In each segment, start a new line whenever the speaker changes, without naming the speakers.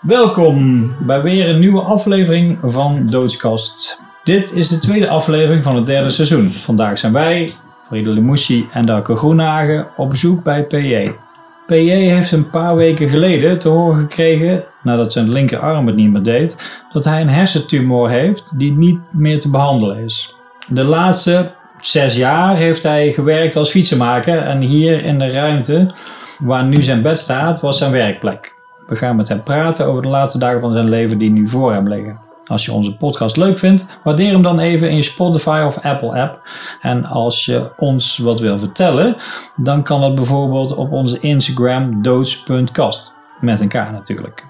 Welkom bij weer een nieuwe aflevering van Doodskast. Dit is de tweede aflevering van het derde seizoen. Vandaag zijn wij, Friede Lemoussi en Darko Groenhagen, op bezoek bij PJ. PJ heeft een paar weken geleden te horen gekregen, nadat zijn linkerarm het niet meer deed, dat hij een hersentumor heeft die niet meer te behandelen is. De laatste zes jaar heeft hij gewerkt als fietsenmaker en hier in de ruimte waar nu zijn bed staat was zijn werkplek. We gaan met hem praten over de laatste dagen van zijn leven die nu voor hem liggen. Als je onze podcast leuk vindt, waardeer hem dan even in je Spotify of Apple app. En als je ons wat wil vertellen, dan kan dat bijvoorbeeld op onze Instagram doods.kast. Met een K natuurlijk.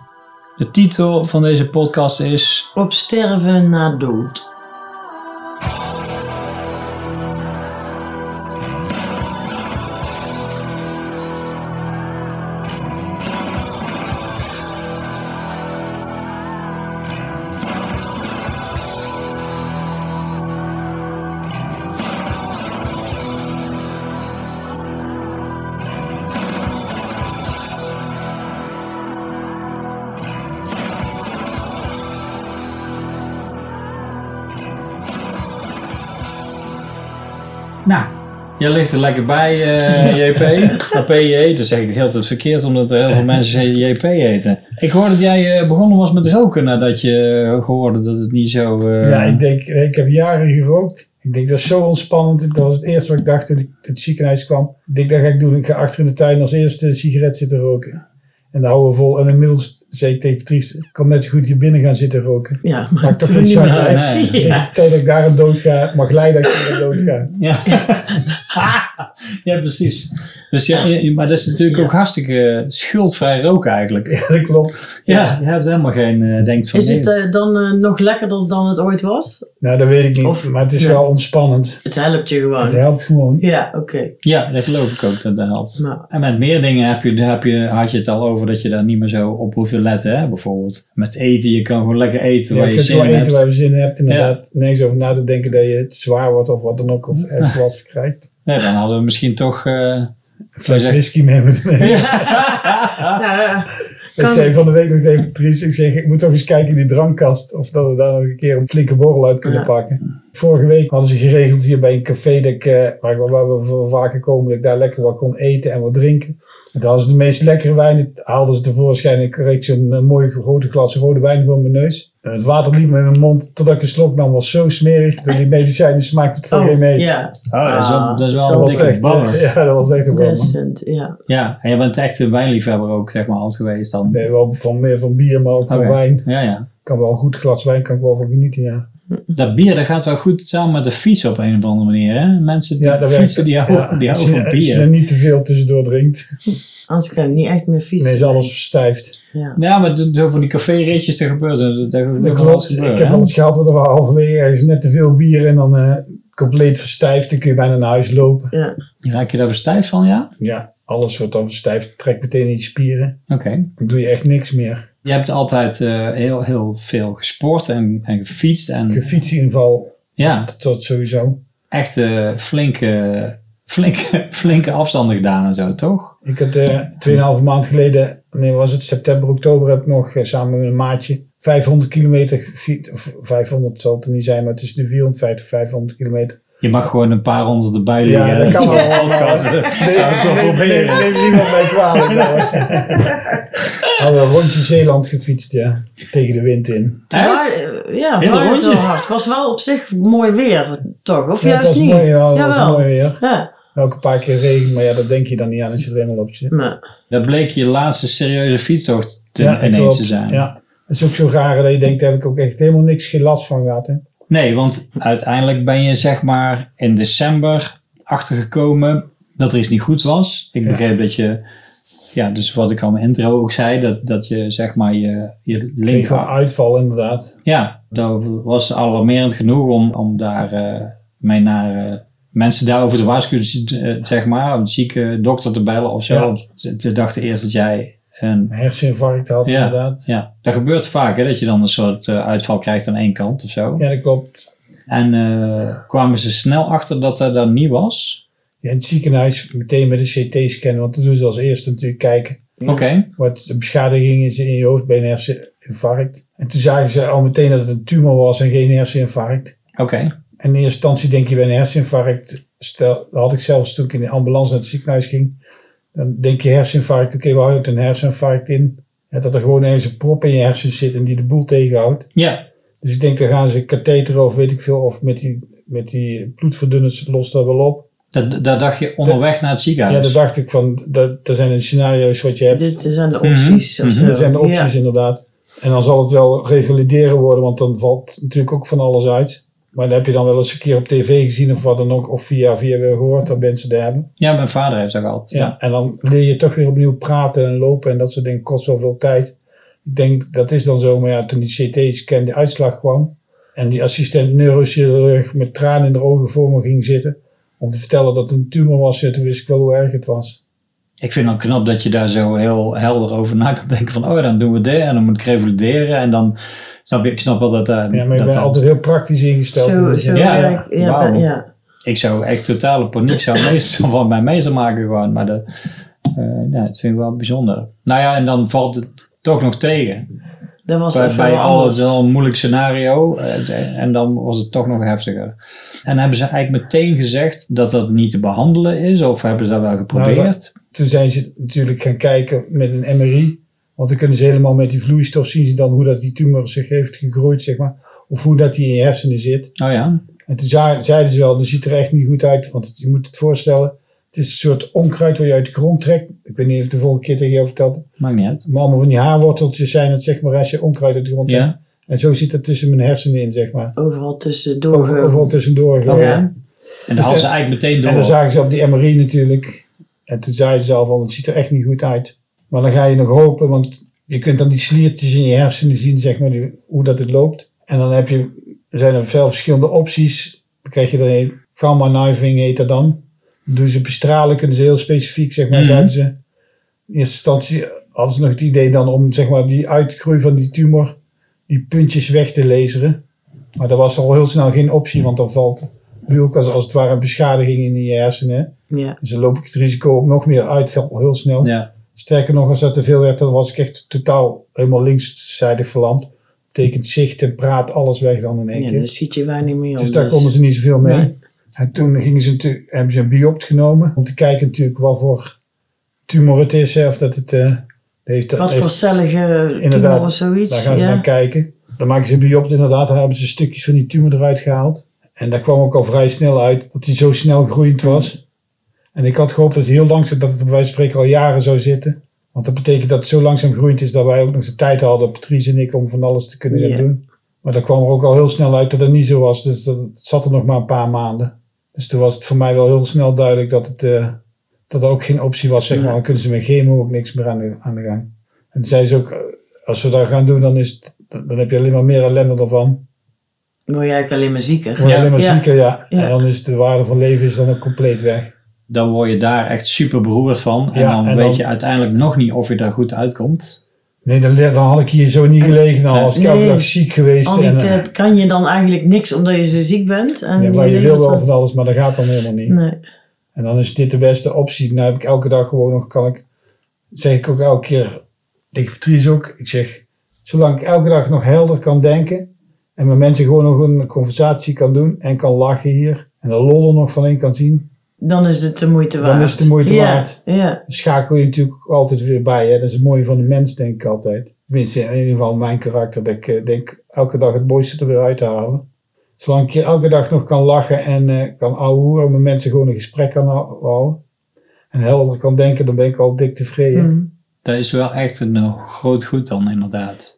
De titel van deze podcast is
Op sterven na dood.
Nou, jij ligt er lekker bij, eh, JP. PJ, dat zeg ik heel het verkeerd, omdat er heel veel mensen JP heten. Ik hoorde dat jij eh, begonnen was met roken nadat je eh, hoorde dat het niet zo... eh,
Ja, ik denk, ik heb jaren gerookt. Ik denk, dat is zo ontspannend. Dat was het eerste wat ik dacht toen ik het ziekenhuis kwam. Ik denk, dat ga ik doen. Ik ga achter in de tuin als eerste een sigaret zitten roken. En daar houden we vol. En inmiddels zei ik tegen Patrice, ik kan net zo goed hier binnen gaan zitten roken.
Ja, maar
Maakt
het
toch
is er
geen
niet meer
zak
uit.
uit.
Ik
Ja.
denk, tijd dat ik daar aan dood ga, mag lijden dat ik daar aan dood ga.
Ja. ja, precies. Dus ja, je- maar dat is natuurlijk ook hartstikke schuldvrij roken eigenlijk.
Ja, dat klopt.
Ja, je hebt helemaal geen, eh, denkt van
Is
nee.
het eh, dan eh, nog lekkerder dan het ooit was?
Nou, dat weet ik niet.
Of-
maar het is
ja.
wel ontspannend.
Het helpt je
Het
gewoon.
helpt gewoon.
Ja, oké.
Ja, dat geloof ik ook dat dat helpt.
Nou,
En met meer dingen heb je, heb je, had je het al over dat je daar niet meer zo op hoeft te letten. Hè? Bijvoorbeeld met eten, je kan gewoon lekker eten
Ja,
waar
je
je
kunt
zin
wel
in
eten
hebt.
waar je zin in hebt. Inderdaad, nergens over na te denken dat je het zwaar wordt of wat dan ook. Of ergens last van krijgt.
Ja, dan hadden we misschien toch... eh,
Een fles
Ja.
whisky mee met
Oh, ja,
Ik
Kan-
zei van de week nog tegen Patrice, ik zeg, ik moet toch eens kijken in die drankkast of dat we daar nog een keer een flinke borrel uit kunnen
Ja.
pakken. Vorige week hadden ze geregeld hier bij een café dat ik, eh, waar, ik- waar we voor vaker komen, dat ik daar lekker wat kon eten en wat drinken. En dan hadden ze de meest lekkere wijnen, haalden ze tevoorschijn en ik kreeg zo'n eh, mooi grote glas rode wijn voor mijn neus. En het water liep me in mijn mond totdat ik een slok nam, was zo smerig. Door die medicijnen smaakte het voor
oh,
geen mee.
ja.
oh, dat is wel, dat is wel
Ah,
Dat
een
was
dikke
echt,
baller.
eh, ja, dat was echt een
Dus-
baller.
Decent, ja.
Ja, en je bent echt een wijnliefhebber ook, zeg maar, altijd geweest dan.
Nee, wel van, meer van bier, maar ook van
Oké.
wijn.
Ja, ja.
Kan wel een goed glas wijn, kan ik wel van genieten, ja.
Dat bier, dat gaat wel goed samen met de fiets op een of andere manier, hè? Mensen die
Ja, dat werkt.
fietsen, die houden,
Ja,
die
als
houden
je-
van
Als je er
bier.
niet te veel tussendoor drinkt,
Anders kan ik niet echt meer fietsen.
dan is alles verstijfd.
Ja.
Ja, maar zo van die café-ritjes, dat gebeurt. Dat, dat, dat
Dat
kan wel eens
klopt.
gebeuren,
Ik heb
hè?
wel eens gehad dat er halverwege ergens net te veel bier en dan eh, compleet verstijfd. Dan kun je bijna naar huis lopen.
ja.
Raak je daar verstijfd van, ja?
Ja, alles wordt dan verstijfd. Trek meteen in je spieren.
Oké.
Dan doe je echt niks meer.
Je hebt altijd eh, heel, heel veel gesport en, en gefietst. En
Je fiets in ieder geval,
ja,
dat, dat sowieso.
echt eh, flinke, flinke, flinke afstanden gedaan en zo, toch?
Ik had eh 2,5 maand geleden, nee was het september, oktober, heb ik nog eh, samen met een maatje 500 kilometer gefietst. Of 500 zal het er niet zijn, maar het is de 450, 500 kilometer.
Je mag gewoon een paar honderd erbij liggen.
Ja, dat kan wel.
Ja,
maar-
zou ik wel
Neem-
proberen.
neem- Neem niemand mij kwalijk. nou. Hadden we rondje Zeeland gefietst, ja. Tegen de wind in.
Echt?
Waar- eh, ja,
Heel
waar het
rondje.
wel hard. Het was wel op zich mooi weer, toch? Of
Ja, het
juist
was
niet?
mooi, ja, het was
Jawel.
mooi weer.
Ja,
Ook een paar keer regen, maar ja, dat denk je dan niet aan als je er helemaal op zit.
maar,
Dat bleek je laatste serieuze fietstocht te,
ja,
ineens
klopt.
te zijn.
Ja. Het is ook zo raar dat je denkt, daar heb ik ook echt helemaal niks geen last van gehad. Hè?
Nee, want uiteindelijk ben je zeg maar in december achtergekomen dat er iets niet goed was. Ik
Ja.
begreep dat je, ja, dus wat ik al in mijn intro ook zei, dat, dat je zeg maar je, je
Ik kreeg gewoon
linker...
uitval inderdaad.
Ja, dat was alarmerend genoeg om, om daar eh, mee naar eh, mensen daarover te waarschuwen, dus, eh, zeg maar, om een zieke dokter te bellen of zo.
Ja.
Ze- Ze dachten eerst dat jij een...
Een herseninfarct had
Ja.
inderdaad.
Ja, dat gebeurt vaak hè, dat je dan een soort eh, uitval krijgt aan één kant of zo.
Ja, dat klopt.
En eh, kwamen ze snel achter dat dat dan niet was?
Ja, in het ziekenhuis meteen met een CT-scan, want dat doen ze als eerste natuurlijk kijken.
Oké.
Wat beschadiging is in je hoofd bij een herseninfarct. En toen zagen ze al meteen dat het een tumor was en geen herseninfarct.
Oké.
En in eerste instantie denk je bij een herseninfarct, stel, dat had ik zelfs toen ik in de ambulance naar het ziekenhuis ging, dan denk je herseninfarct, oké, waar houdt een herseninfarct in? Ja, dat er gewoon ergens een prop in je hersen zit en die de boel tegenhoudt.
Ja.
Dus ik denk, dan gaan ze katheter of weet ik veel, of met die, met die bloedverdunners lost dat wel op.
Dat, dat dacht je onderweg naar het ziekenhuis.
Ja, dat dacht ik van, dat, dat zijn de scenario's wat je hebt.
Dit zijn de
Mhm,
opties.
mhm.
of zo.
Dat zijn de
Ja.
opties inderdaad. En dan zal het wel revalideren worden, want dan valt natuurlijk ook van alles uit. Maar dan heb je dan wel eens een keer op tv gezien of wat dan ook, of via via weer gehoord dat mensen daar hebben.
Ja, mijn vader heeft dat gehad.
Ja. En dan leer je toch weer opnieuw praten en lopen en dat soort dingen kost wel veel tijd. Ik denk dat is dan zo, maar ja, toen die CT-scan, de uitslag kwam en die assistent neurochirurg met tranen in de ogen voor me ging zitten om te vertellen dat het een tumor was, ja, toen wist ik wel hoe erg het was.
Ik vind het knap dat je daar zo heel helder over na kan denken. Van, oh, dan doen we dit en dan moet ik revalideren. En dan snap je, ik snap wel dat... eh,
Ja, maar ik
dat
ben
dat-
altijd heel praktisch ingesteld.
Zo, zo
Ja,
ja,
ja.
ja,
Wauw.
ben- ja.
Ik zou echt totale paniek zou meestal van mij mee zou maken gewoon. Maar dat, eh, nou, dat vind ik wel bijzonder. Nou ja, en dan valt het toch nog tegen.
Dat was
Bij,
even
bij alles
alles.
wel een moeilijk scenario. eh, en dan was het toch nog heftiger. En hebben ze eigenlijk meteen gezegd dat dat niet te behandelen is? Of hebben ze dat
Nou,
wel geprobeerd?
toen zijn ze natuurlijk gaan kijken met een MRI. Want dan kunnen ze helemaal met die vloeistof zien ze dan hoe dat die tumor zich heeft gegroeid, zeg maar. Of hoe dat die in je hersenen zit.
oh ja,
En toen za- zeiden ze wel, dat ziet er echt niet goed uit. Want je moet het voorstellen, het is een soort onkruid waar je uit de grond trekt. Ik weet niet of ik de vorige keer tegen jou vertelde.
maakt niet uit.
Maar allemaal van die haarworteltjes zijn het, zeg maar, als je onkruid uit de grond trekt.
Ja,
En zo zit dat tussen mijn hersenen in, zeg maar.
Overal tussendoor.
Over, overal tussendoor.
oké.
Ja.
En dan
Dus,
hadden ze
eh,
eigenlijk meteen
En dan
door.
zagen ze op die MRI natuurlijk. En toen zeiden ze al van, het ziet er echt niet goed uit. Maar dan ga je nog hopen, want je kunt dan die sliertjes in je hersenen zien, zeg maar, die- hoe dat het loopt. En dan heb je, er zijn er veel verschillende opties. Dan krijg je er een, gamma kniving heet dat dan. Dan doen ze bestralen, kunnen ze heel specifiek, zeg maar,
Mhm.
zouden ze. In eerste instantie hadden ze nog het idee dan om, zeg maar, die uitgroei van die tumor, die puntjes weg te laseren. Maar dat was al heel snel geen optie, want dan valt nu ook als, als het ware een beschadiging in je hersenen.
Ja.
Dus dan loop ik het risico op nog meer uitval heel snel.
Ja,
Sterker nog, als dat te veel werd, dan was ik echt totaal helemaal linkszijdig verlamd. Betekent zicht en praat alles weg dan in
ja,
één
dus
keer.
dan ziet je waar niet meer om.
Dus daar konden ze niet zoveel mee.
Nee.
En toen gingen ze natuurlijk- hebben ze een biopt genomen om te kijken natuurlijk wat voor tumor het is. Hè, of dat het, eh, heeft,
Wat
heeft-
voor cellige
Inderdaad,
tumor of
daar
zoiets.
gaan ze
ja.
naar kijken. Dan maken ze een biopt inderdaad. Daar hebben ze stukjes van die tumor eruit gehaald. En daar kwam ook al vrij snel uit dat hij zo snel groeiend was. En ik had gehoopt dat het heel langzaam, dat het bij wijze van spreken al jaren zou zitten. Want dat betekent dat het zo langzaam groeiend is dat wij ook nog de tijd hadden, Patrice en ik, om van alles te kunnen gaan
Ja.
doen. Maar dan kwam er ook al heel snel uit dat dat niet zo was. Dus dat het zat er nog maar een paar maanden. Dus toen was het voor mij wel heel snel duidelijk dat het eh, dat er ook geen optie was. Zeg maar.
Ja.
Dan kunnen ze met chemo ook niks meer aan de, aan de gang. En toen zei ze ook, eh, als we dat gaan doen, dan, is het- dan dan heb je alleen maar meer ellende ervan.
Dan word je eigenlijk alleen maar
Dan
zieker.
word je
Ja.
alleen maar
Ja.
zieker, ja.
Ja.
En dan is de waarde van leven is dan ook compleet weg.
dan word je daar echt super beroerd van. En
Ja,
dan
en
weet
dan-
je uiteindelijk nog niet of je daar goed uitkomt.
Nee, dan, dan had ik hier zo niet gelegen. Dan was ik elke
Nee.
dag ziek geweest.
Al die
en, eh,
tijd kan je dan eigenlijk niks omdat je zo ziek bent. En
nee, maar je wil
levert
wel
zo-
van alles, maar dat gaat dan helemaal niet.
Nee.
En dan is dit de beste optie. Nou heb ik elke dag gewoon nog, kan ik, zeg ik ook elke keer tegen Patrice ook, ik zeg, zolang ik elke dag nog helder kan denken en met mensen gewoon nog een conversatie kan doen en kan lachen hier en de lol er nog van in kan zien,
Dan is het de moeite waard.
is het de moeite
Ja,
waard.
Ja.
dan schakel je natuurlijk ook altijd weer bij. Hè? Dat is het mooie van de mens, denk ik altijd. Tenminste, in ieder geval mijn karakter, dat ik eh, denk elke dag het mooiste er weer uit te halen. Zolang ik je elke dag nog kan lachen en eh kan ouwehoeren, met mensen gewoon een gesprek kan hou- houden. En helder kan denken, dan ben ik al dik tevreden.
Hm.
Dat is wel echt een eh, groot goed dan, inderdaad.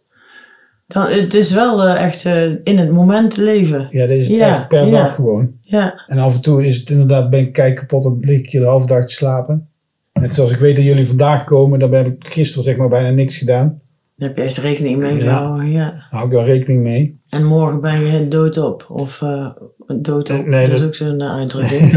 Dan, het is wel eh, echt eh, in het moment leven.
Ja, dat is het
Ja,
echt per
ja.
dag gewoon.
Ja.
En af en toe is het inderdaad, ben ik kijk kapot, dan lig ik hier de halve dag te slapen. Net zoals ik weet dat jullie vandaag komen, dan heb ik gisteren zeg maar bijna niks gedaan.
Daar heb je echt rekening mee
Ja.
gehouden. Ja.
Daar hou ik wel rekening mee.
En morgen ben je doodop. Of eh, doodop,
Nee,
dat is
dat-
ook zo'n eh, uitdrukking.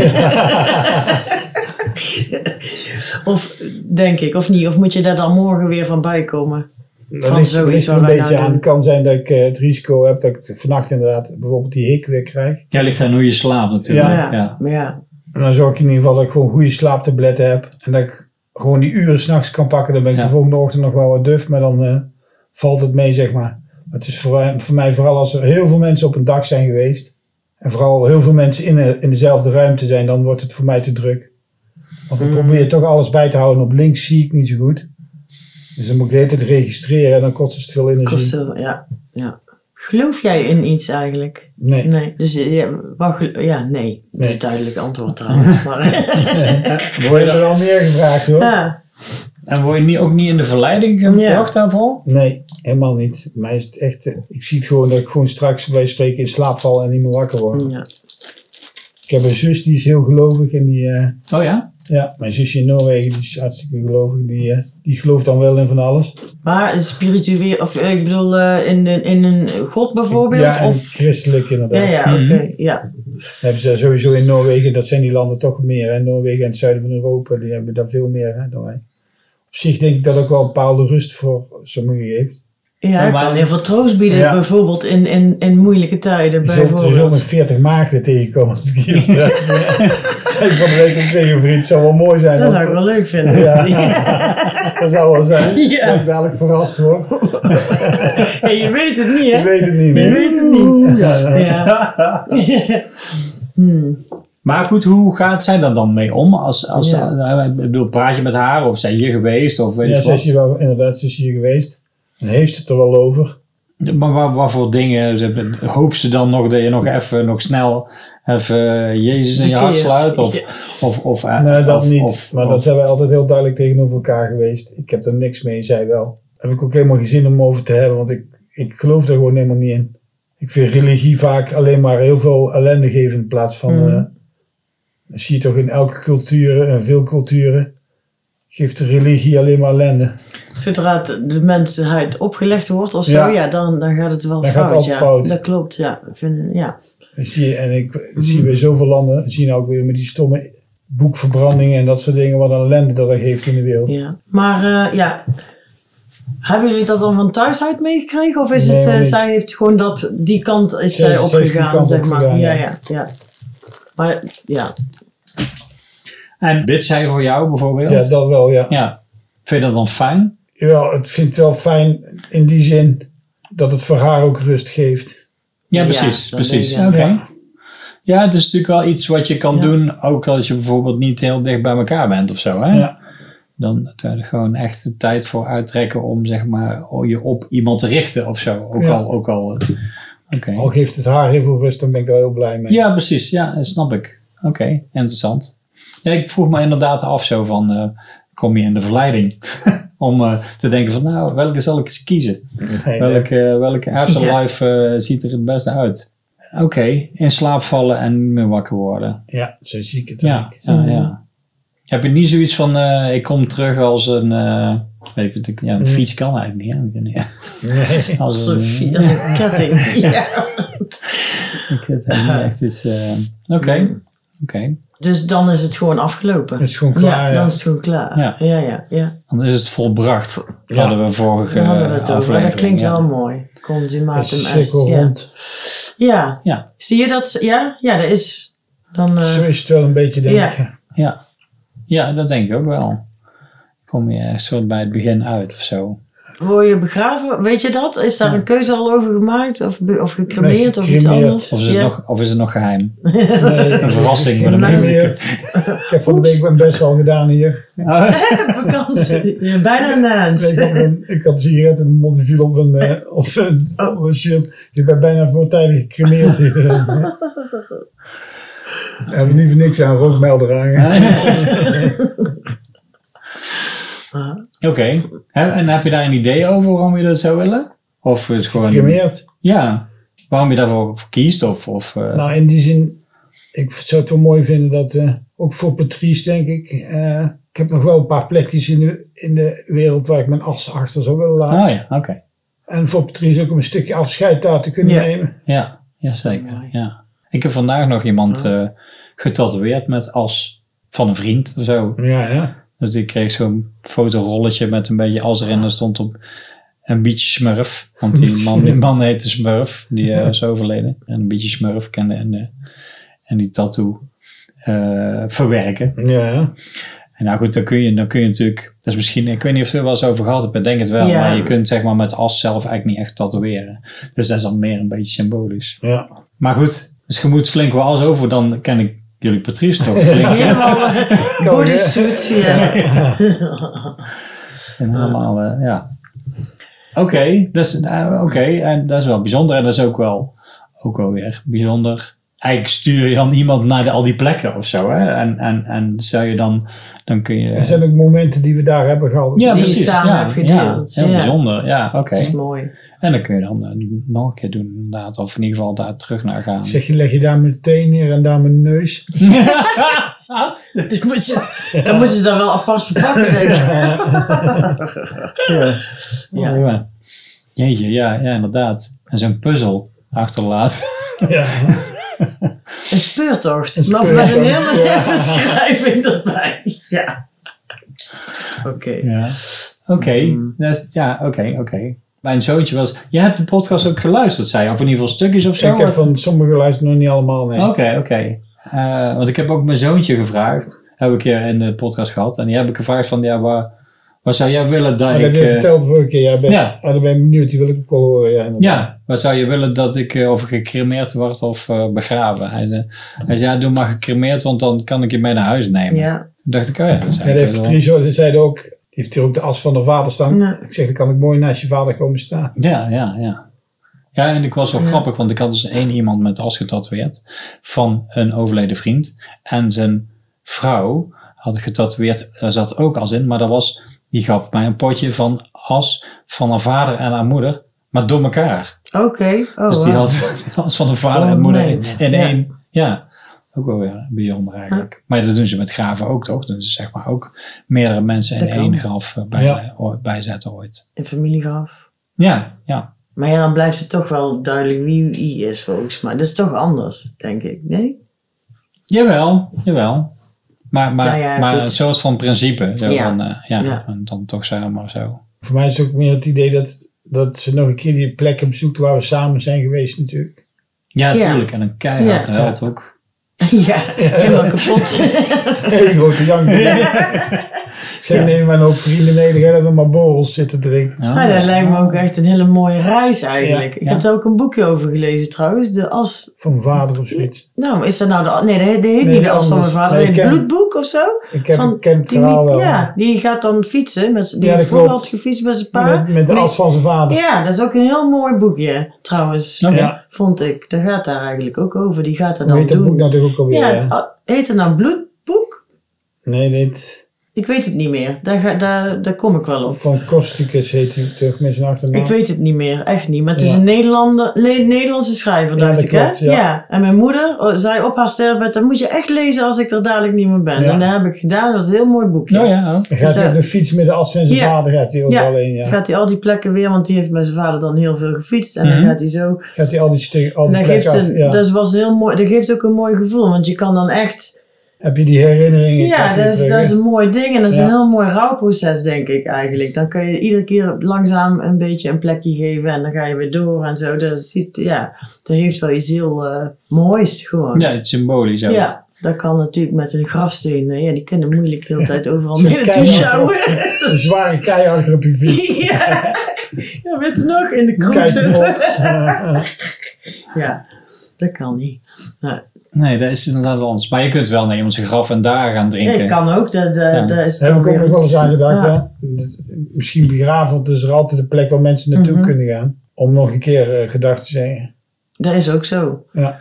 of denk ik, of niet. Of moet je daar dan morgen weer van bijkomen?
Dat
van
ligt,
zoiets
ligt er
waar
een
wij
beetje
nou
aan.
doen.
Het kan zijn dat ik eh, het risico heb dat ik vannacht inderdaad bijvoorbeeld die hik weer krijg.
Ja, ligt aan hoe je slaapt natuurlijk. Ja.
Maar ja,
En dan zorg ik in ieder geval dat ik gewoon goede slaaptabletten heb. En dat ik gewoon die uren s'nachts kan pakken, dan ben ik
Ja.
de volgende ochtend nog wel wat duf, maar dan eh, valt het mee, zeg maar. Het is voor, eh, voor mij vooral als er heel veel mensen op een dag zijn geweest, en vooral heel veel mensen in, een- in dezelfde ruimte zijn, dan wordt het voor mij te druk. Want dan
Mm.
probeer je toch alles bij te houden. Op links zie ik niet zo goed. Dus dan moet ik de hele tijd registreren en dan kost het veel energie.
Kost heel- ja, ja. Geloof jij in iets eigenlijk?
Nee.
Nee. Dus eh, ja, wat gel- ja nee. Dat is
Nee.
duidelijk antwoord trouwens. Maar,
Word je er al meer gevraagd hoor?
ja.
En word je niet, ook niet in de verleiding eh,
Ja.
gebracht daarvoor?
Nee, helemaal niet. Bij Mij is het echt, eh, ik zie het gewoon dat ik gewoon straks bij wijze van spreken in slaap val en niet meer wakker word.
ja.
Ik heb een zus die is heel gelovig en die, eh,
Oh ja?
ja, mijn zusje in Noorwegen die is hartstikke gelovig. Die, eh, die gelooft dan wel in van alles.
Maar spiritueel, of eh, ik bedoel eh, in, een- in een god bijvoorbeeld?
Ja, en
of,
christelijk inderdaad.
ja, ja, oké.
Mhm.
Ja.
Dan hebben ze daar sowieso in Noorwegen, dat zijn die landen toch meer. Hè? Noorwegen en het zuiden van Europa, die hebben daar veel meer hè, dan wij. Op zich denk ik dat ook wel een bepaalde rust voor sommigen geeft.
ja, het
maar-
kan heel veel troost bieden,
Ja.
bijvoorbeeld in, in, in moeilijke tijden.
Je zult er zo
bijvoorbeeld.
met 40 maagden tegenkomen als ik hier vertrek. Zei ik van de week ook tegen een vriend, het zou wel mooi zijn.
Dat
als
zou ik
het-
wel leuk vinden.
Ja. dat zou wel zijn.
Ja.
Dat ik dadelijk verrast word.
Hey, je weet het niet,
Ik
hè?
weet het niet
Je
meer.
weet het niet.
Ja, ja.
Ja. Hmm.
Maar goed, hoe gaat zij daar dan mee om? Als, als,
Ja.
eh, ik bedoel, praat je met haar of zijn hier geweest? Of weet
Ja,
je
ze is
wat?
hier wel, inderdaad, ze is hier geweest. En heeft het er wel over.
Maar wat, wat voor dingen? Ze- Hoopt ze dan nog dat je nog even, nog snel even Jezus in je hart
Bekeert.
sluit? Of,
Ja.
of, of, eh,
Nee, dat
of-
niet.
of-
maar
of-
dat zijn wij altijd heel duidelijk tegenover elkaar geweest. Ik heb er niks mee, zij wel. Heb ik ook helemaal geen zin om over te hebben, want ik, ik geloof daar gewoon helemaal niet in. Ik vind religie vaak alleen maar heel veel ellende geven in plaats van.
Mhm.
eh, dat zie je toch in elke cultuur, en veel culturen, geeft de religie alleen maar ellende.
Zodra het de mensheid opgelegd wordt of zo,
Ja.
ja, dan, dan gaat het wel
Dan
fout.
gaat het altijd
ja.
fout.
Dat klopt, ja. Ik Vind, ja.
Dat zie je, en ik dat zie je bij zoveel landen, dat zie je nou ook weer met die stomme boekverbrandingen en dat soort dingen, wat een ellende dat dat geeft in de wereld.
Ja. Maar eh, ja, hebben jullie dat dan van thuis uit meegekregen? Of is
Nee,
het, eh,
maar ik-
zij heeft gewoon dat, die kant is zij
Zij is- zij is die
opgegaan,
kant
zeg maar.
opgegaan,
ja,
ja.
ja, ja. Maar ja,
En bidt zij voor jou bijvoorbeeld?
Ja, dat wel, ja.
Ja. Vind je dat dan fijn?
Ja, het vindt wel fijn in die zin dat het voor haar ook rust geeft.
Ja,
Ja,
precies.
dat
precies.
denk ik,
Oké. Ja. het is natuurlijk wel iets wat je kan
Ja.
doen, ook als je bijvoorbeeld niet heel dicht bij elkaar bent of zo. Hè?
Ja.
Dan dat we er gewoon echt de tijd voor uittrekken om zeg maar, je op iemand te richten of zo. Ook
Ja.
al. Ook al eh, Oké.
Al geeft het haar heel veel rust, dan ben ik daar heel blij mee.
Ja, precies. Ja, dat snap ik. Oké, interessant. Ja, ik vroeg me inderdaad af zo van, eh, kom je in de verleiding om eh, te denken van, nou, welke zal ik eens kiezen?
Nee, nee.
Welke, eh, welke afterlife eh, ziet er het beste uit? Oké, in slaap vallen en niet meer wakker worden.
Ja, zo zie ik het
Ja, Mhm.
eigenlijk.
ja, ja. Heb je niet zoiets van, eh, ik kom terug als een, eh, weet ik, wat ik- ja, een fiets kan eigenlijk niet. hè? Ik weet niet.
Nee.
Mhm. Als
dat
een,
is een, dat is een ketting. Ja.
ik weet het niet echt is, eh, oké, oké.
Dus dan is het gewoon afgelopen.
Het is gewoon klaar, ja.
dan is het gewoon klaar.
Ja.
Ja, ja, ja.
Dan is het volbracht.
Ja.
Hadden we vorige
Daar hadden we het over. Maar dat
aflevering,
klinkt
ja.
wel mooi.
Het
Consumatum
is
est.
cirkel
Ja.
rond.
Ja.
Ja.
Zie je dat? Ja, ja dat is. Dan, eh,
Zo is het wel een beetje, denk
Ja.
ik. ja.
Ja. ja, dat denk ik ook wel. Kom je echt soort bij het begin uit of zo.
word je begraven? Weet je dat? Is daar een keuze al over gemaakt? Of, be- of gecremeerd of iets
gecremeerd.
anders?
Of is,
ja.
het, nog, of is het nog geheim?
Nee,
Een verrassing voor de
Maar-
mensen.
gecremeerd. Ik heb van de week mijn best al gedaan hier.
Oh,
vakantie? Ja, bijna een
Ik
maand.
had een- Ik had een sigaret en Montevideo op een, eh, op een, op een shirt. Je bent bijna voortijdig gecremeerd hier. We hebben niet voor niks aan een rookmelder hangen.
Ah.
Oké. Hè, En heb je daar een idee over waarom je dat zou willen? Of is het gewoon...
Gecremeerd.
Ja. Waarom je daarvoor voor kiest? Of, of, eh,
Nou, in die zin, ik zou het wel mooi vinden dat, eh, ook voor Patrice denk ik, eh, ik heb nog wel een paar plekjes in de, in de wereld waar ik mijn as achter zou willen laten.
oh ja, oké.
En voor Patrice ook om een stukje afscheid daar te kunnen
Ja.
nemen.
Ja, jazeker.
Mooi.
Ja. Ik heb vandaag nog iemand eh getatoeëerd met as van een vriend of zo.
Ja, ja.
Dus ik kreeg zo'n fotorolletje met een beetje as erin. Er stond op een beetje smurf. Want die man, die man heette Smurf. Die eh, is overleden. En een beetje smurf kende. En, eh, en die tattoo eh, verwerken.
ja.
En En nou goed, dan kun je, dan kun je natuurlijk, dat is misschien, ik weet niet of je er wel eens over gehad hebt, ik denk het wel,
Ja.
maar je kunt zeg maar met as zelf eigenlijk niet echt tatoeëren. Dus dat is dan meer een beetje symbolisch.
Ja.
Maar goed, dus je moet flink wel as over, dan ken ik jullie Patrice toch flink. hè?
Helemaal eh,
Kan,
bodysuit. Ja.
En helemaal, eh, ja. Oké, dus, eh, oké, en dat is wel bijzonder. En dat is ook wel, ook wel weer bijzonder. Eigenlijk stuur je dan iemand naar de- al die plekken of zo. Hè? En, en, en zou je dan, dan kun je...
Er zijn ook momenten die we daar hebben gehad.
ja,
die je samen hebt gedeeld.
Ja, heel
Ja.
bijzonder. Ja, oké.
Dat is mooi.
En dan kun je dan eh, nog een keer doen inderdaad. Of in ieder geval daar terug naar gaan.
Ik Zeg je, leg je daar mijn teen neer en daar mijn neus.
Dat moet je, dan moeten ze daar wel apart verpakken, denk ik.
Ja.
Ja.
ja. Jeetje, ja, ja, inderdaad. En zo'n puzzel achterlaat.
Ja.
Een speurtocht.
Een
Nog met een
speurtocht,
hele
ja.
beschrijving erbij. Ja. Oké.
Ja. Oké,
Mm.
dat is- ja, oké, oké. Mijn zoontje was... Jij hebt de podcast ook geluisterd, zei je. Of in ieder geval stukjes of zo.
Ik heb
Wat-
van sommige luisteren nog niet allemaal mee.
Oké, oké. Eh, want ik heb ook mijn zoontje gevraagd. Heb ik hier in de podcast gehad. En die heb ik gevraagd van... Ja, waar, waar zou jij willen dat
Maar Oh, dat
ik...
heb je
eh,
verteld vorige keer. Ja, ben,
ja.
ja. daar ben ik benieuwd. Die wil ik ook wel horen. Ja, inderdaad.
ja, waar zou je willen dat ik... eh, of ik gecremeerd word of eh, begraven? Hij, eh, hij zei, ja, doe maar gecremeerd. Want dan kan ik je mee naar huis nemen.
Ja.
Toen dacht ik, oh ja. dat is
Ja, dat heeft
eigenlijk wel-
Patrice zei ook. die Heeft hier ook de as van de vader staan.
Ja.
Ik zeg, dan kan ik mooi naast je vader komen staan.
Ja, ja, ja. Ja, en ik was wel
Ja.
grappig, want ik had dus één iemand met as getatoeëerd van een overleden vriend. En zijn vrouw had getatoeëerd, daar zat ook as in, maar dat was, die gaf mij een potje van as van haar vader en haar moeder, maar door elkaar.
Oké. Oh,
dus die
wauw.
had die as van haar vader
Oh,
en moeder
nee.
in, in
Ja.
één. Ja, ook wel weer bijzonder eigenlijk. Maar dat doen ze met graven ook toch? Dat is zeg maar ook meerdere mensen in
Dat kan.
één graf eh, bij,
Ja.
o- bijzetten ooit.
Een familiegraf.
Ja, ja.
Maar ja, dan blijft het toch wel duidelijk wie wie is volgens mij. Dat is toch anders, denk ik. Nee?
Jawel, jawel. Maar, maar,
Nou ja,
maar
goed.
een soort van principe. Zo
Ja.
Van, eh, ja,
Ja.
en dan toch zeg maar zo.
Voor mij is het ook meer het idee dat, dat ze nog een keer die plekken bezoekt waar we samen zijn geweest natuurlijk.
Ja,
Ja.
tuurlijk. En een keihard
Ja.
held ook.
ja, helemaal kapot.
Hele grote jank. Ik zeg, neem maar een hoop vrienden mee. Dan gaan we maar borrels zitten drinken.
Ja.
Maar Ah, dat lijkt me ook echt een hele mooie reis eigenlijk.
Ja,
Ik
ja.
heb daar ook een boekje over gelezen trouwens. De as.
Van mijn vader of zoiets.
Nou, is dat nou de. as- Nee, dat dat heet
Nee,
niet de
de
as van mijn
anders.
vader.
Nee,
Nee,
ik
het
ken-
bloedboek of zo?
Ik, heb,
Van
ik ken het
die-
verhaal wel.
Ja, die gaat dan fietsen. Met, z'n- die
Ja, dat
vroeger
klopt.
had gefietst met zijn pa.
Met, met de
En die-
as van zijn vader.
Ja, dat is ook een heel mooi boekje trouwens.
Oké.
Ja.
Vond ik. Daar gaat daar eigenlijk ook over. Die gaat dat
Hoe
dan
heet dat boek
doen.
natuurlijk ook alweer?
ja,
hè?
a- heet het nou bloedboek?
Nee, dit.
Ik weet het niet meer. Daar, ga, daar, daar kom ik wel op.
Van Kosticus heet hij terug met zijn achternaam.
Ik weet het niet meer, echt niet. Maar het is
Ja.
een Nederlander, Le- Nederlandse schrijver,
Ja,
dacht
dat
ik, hè?
klopt, ja.
En mijn moeder oh, zei op haar sterfbed, dat moet je echt lezen als ik er dadelijk niet meer ben.
Ja.
En dat heb ik gedaan. Dat was een heel mooi boekje.
Oh ja, ook.
Dan gaat
Dus,
hij
eh,
op de fiets met de as van zijn
ja.
vader gaat hij
Ja.
overal heen. Ja.
Gaat hij al die plekken weer, want die heeft met zijn vader dan heel veel gefietst. En
Mhm.
dan gaat hij zo.
Gaat hij al die, ste- al
En
die
dat,
plek
geeft
af.
een,
ja.
dat, was heel mooi, dat geeft ook een mooi gevoel, want je kan dan echt...
Heb je die herinneringen? eh,
Ja,
krijg je
dat is,
terug,
dat is
hè?
een mooi ding en dat is
Ja.
een heel mooi rouwproces, denk ik eigenlijk. Dan kun je iedere keer langzaam een beetje een plekje geven en dan ga je weer door en zo. Dat, ziet, ja, dat heeft wel iets heel eh, moois gewoon.
Ja, het symbolisch ook.
Ja, dat kan natuurlijk met een grafsteen. eh, Ja, die kunnen moeilijk de hele tijd overal
Zo'n
mee naartoe
keihard
sjouwen.
Een zware kei achter op je fiets.
ja. ja, weet je nog? In de kroeg
Kijk
zo.
rond. Ja.
Ja, dat kan niet.
Nee, dat is inderdaad wel anders. Maar je kunt wel naar iemands graf en daar gaan
Ja,
drinken.
dat kan ook. Dat, dat,
Ja.
dat is
Daar heb
toch
ik ook
weer
nog wel
iets-
eens aan gedacht.
Ja.
Hè? Dat- Misschien begraven, want er is er altijd een plek waar mensen naartoe
Mhm.
kunnen gaan. Om nog een keer eh, gedacht te zeggen.
Dat is ook zo.
Ja.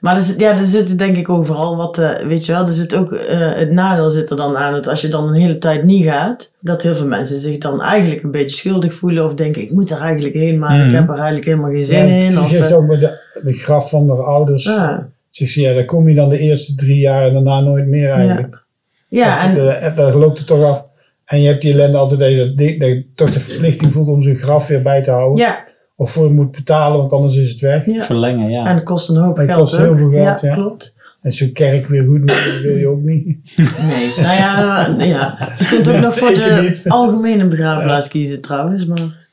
Maar er, zit- ja, er zit denk ik overal wat, eh, weet je wel, er zit ook, eh, het nadeel zit er dan aan dat als je dan een hele tijd niet gaat, dat heel veel mensen zich dan eigenlijk een beetje schuldig voelen of denken, ik moet er eigenlijk heen, maar
Mhm.
ik heb er eigenlijk helemaal geen zin
ja,
in.
Ze
Of,
heeft
eh,
ook met de, de graf van haar ouders.
ja.
Ze zegt, ja, daar kom je dan de eerste drie jaar en daarna nooit meer eigenlijk.
ja, en
Dat- eh, daar loopt het toch af. En je hebt die ellende altijd dat je, dat- dat je toch de verplichting voelt om zo'n graf weer bij te houden.
ja,
Of voor je moet betalen, want anders is het weg.
ja.
Verlengen, ja.
En het kost een hoop
Het
geld
kost heel
ook.
veel geld, ja.
klopt.
En zo'n kerk weer goed maken wil je ook niet.
Nee, nou ja, eh, ja. je kunt ook
Nee,
nog voor
zeker
de
niet.
algemene begraafplaats kiezen trouwens, maar,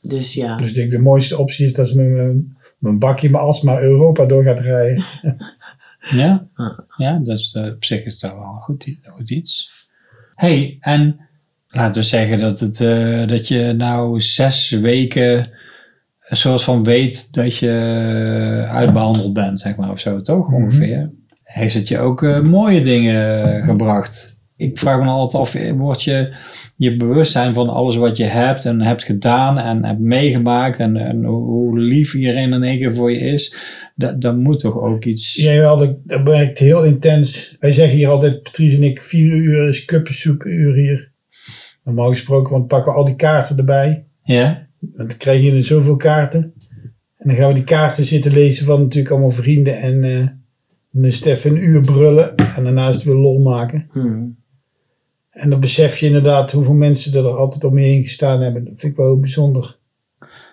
dus ja.
Dus ik denk, de mooiste optie is dat ze met mijn, mijn bakje mijn as maar Europa door gaat rijden.
Ja,
Ja.
ja dus eh, op zich is dat wel een goed, i- goed iets. hey, en laten we zeggen dat, het, eh, dat je nou zes weken een soort van weet dat je eh, uitbehandeld bent, zeg maar, of zo, toch ongeveer. Heeft het je ook eh, mooie dingen gebracht? Ik vraag me altijd af, eh, wordt je, je bewustzijn van alles wat je hebt en hebt gedaan en hebt meegemaakt en, en hoe- hoe lief iedereen in één keer voor je is, dat, dat moet toch ook iets...
Jawel, dat, dat werkt heel intens. Wij zeggen hier altijd, Patrice en ik, vier uur is kuppensoepuur hier. Normaal gesproken, want pakken we al die kaarten erbij.
Ja?
Want dan krijg je er zoveel kaarten. En dan gaan we die kaarten zitten lezen van natuurlijk allemaal vrienden. En eh dan is het even een uur brullen. En daarnaast weer lol maken.
Hmm.
En dan besef je inderdaad hoeveel mensen er altijd om je heen gestaan hebben. Dat vind ik wel heel bijzonder.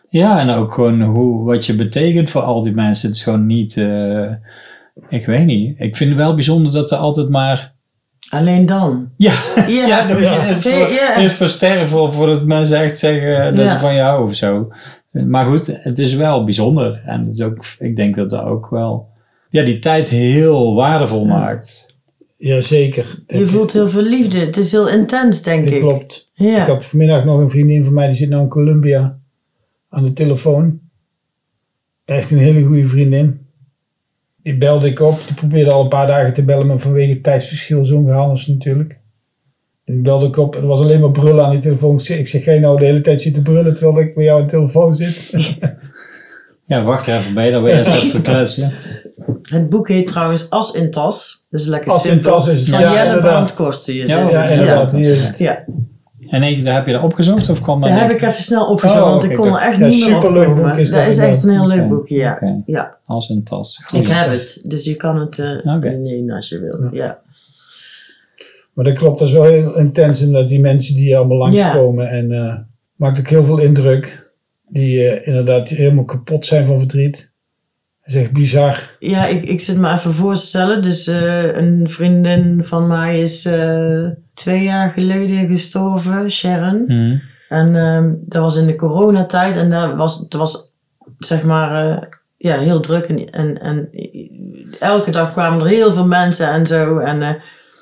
Ja, en ook gewoon hoe, wat je betekent voor al die mensen. Het is gewoon niet. eh, ik weet niet. Ik vind het wel bijzonder dat er altijd maar.
Alleen dan.
Ja,
Ja,
ja, dat
ja.
is voor,
Ja.
is voor sterren, voor, voordat mensen echt zeggen dat
Ja.
ze van jou houden of zo. Maar goed, het is wel bijzonder. En het is ook, ik denk dat dat ook wel. Ja, die tijd heel waardevol maakt.
Jazeker.
Je voelt heel veel liefde. Het is heel intens, denk
Dat
ik.
klopt. Ik
Ja.
had vanmiddag nog een vriendin van mij, die zit nu in Colombia aan de telefoon. Echt een hele goede vriendin. Die belde ik op. Die probeerde al een paar dagen te bellen, maar vanwege het tijdsverschil zo'n gehaal is natuurlijk. En die belde ik op en er was alleen maar brullen aan die telefoon. Ik zeg, ik zeg, ga je nou de hele tijd zitten brullen terwijl ik bij jou aan de telefoon zit?
Ja, wacht er even bij, dan ben je straks verkletst. Ja.
Het boek heet trouwens As in Tas. Dat is lekker
Als in
simpel.
tas is het.
Van
Ja,
Jelle
inderdaad.
Brandkorsten. is
Ja,
het.
Ja, inderdaad. Die is het.
Ja,
En ik, daar heb je dat opgezocht of kwam dat?
daar
niet?
heb ik even snel opgezocht,
Oh,
want
oké,
ik kon er
kijk.
echt
Ja,
niet meer
superleuk
opkomen.
boek is
dat
dat
is echt een heel leuk
Oké,
boekje, ja.
oké.
ja.
Als een tas.
Ik
Goed.
heb het, dus je kan het eh
Oké.
nemen als je wil. Ja.
Maar dat klopt, dat is wel heel intens en dat die mensen die hier allemaal langskomen. En eh, maakt ook heel veel indruk. Die eh, inderdaad helemaal kapot zijn van verdriet. Dat is echt bizar.
Ja, ik, ik zit me even voor te stellen. Dus eh, een vriendin van mij is eh, twee jaar geleden gestorven, Sharon.
Hm.
Mhm.
En ehm, dat was in de coronatijd en daar was, het was zeg maar eh, ja, heel druk. En, en, en elke dag kwamen er heel veel mensen en zo. En eh,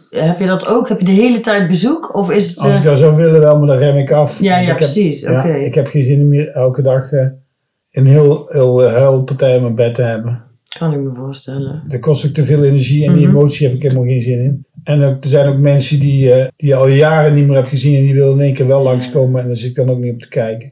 heb je dat ook? Heb je de hele tijd bezoek? Of is het...
Als
eh,
ik dat zou willen wel, maar dan rem ik af.
ja,
Want
ja,
ik heb-
precies.
ja,
Oké.
Ik heb geen zin meer elke dag eh, een heel, heel eh, huilpartij in mijn bed te hebben.
Kan ik me voorstellen.
Dat kost ook te veel energie en die
Mhm.
emotie heb ik helemaal geen zin in. En ook, er zijn ook mensen die, eh, die je al jaren niet meer hebt gezien en die willen in één keer wel langskomen. En daar zit ik dan ook niet op te kijken.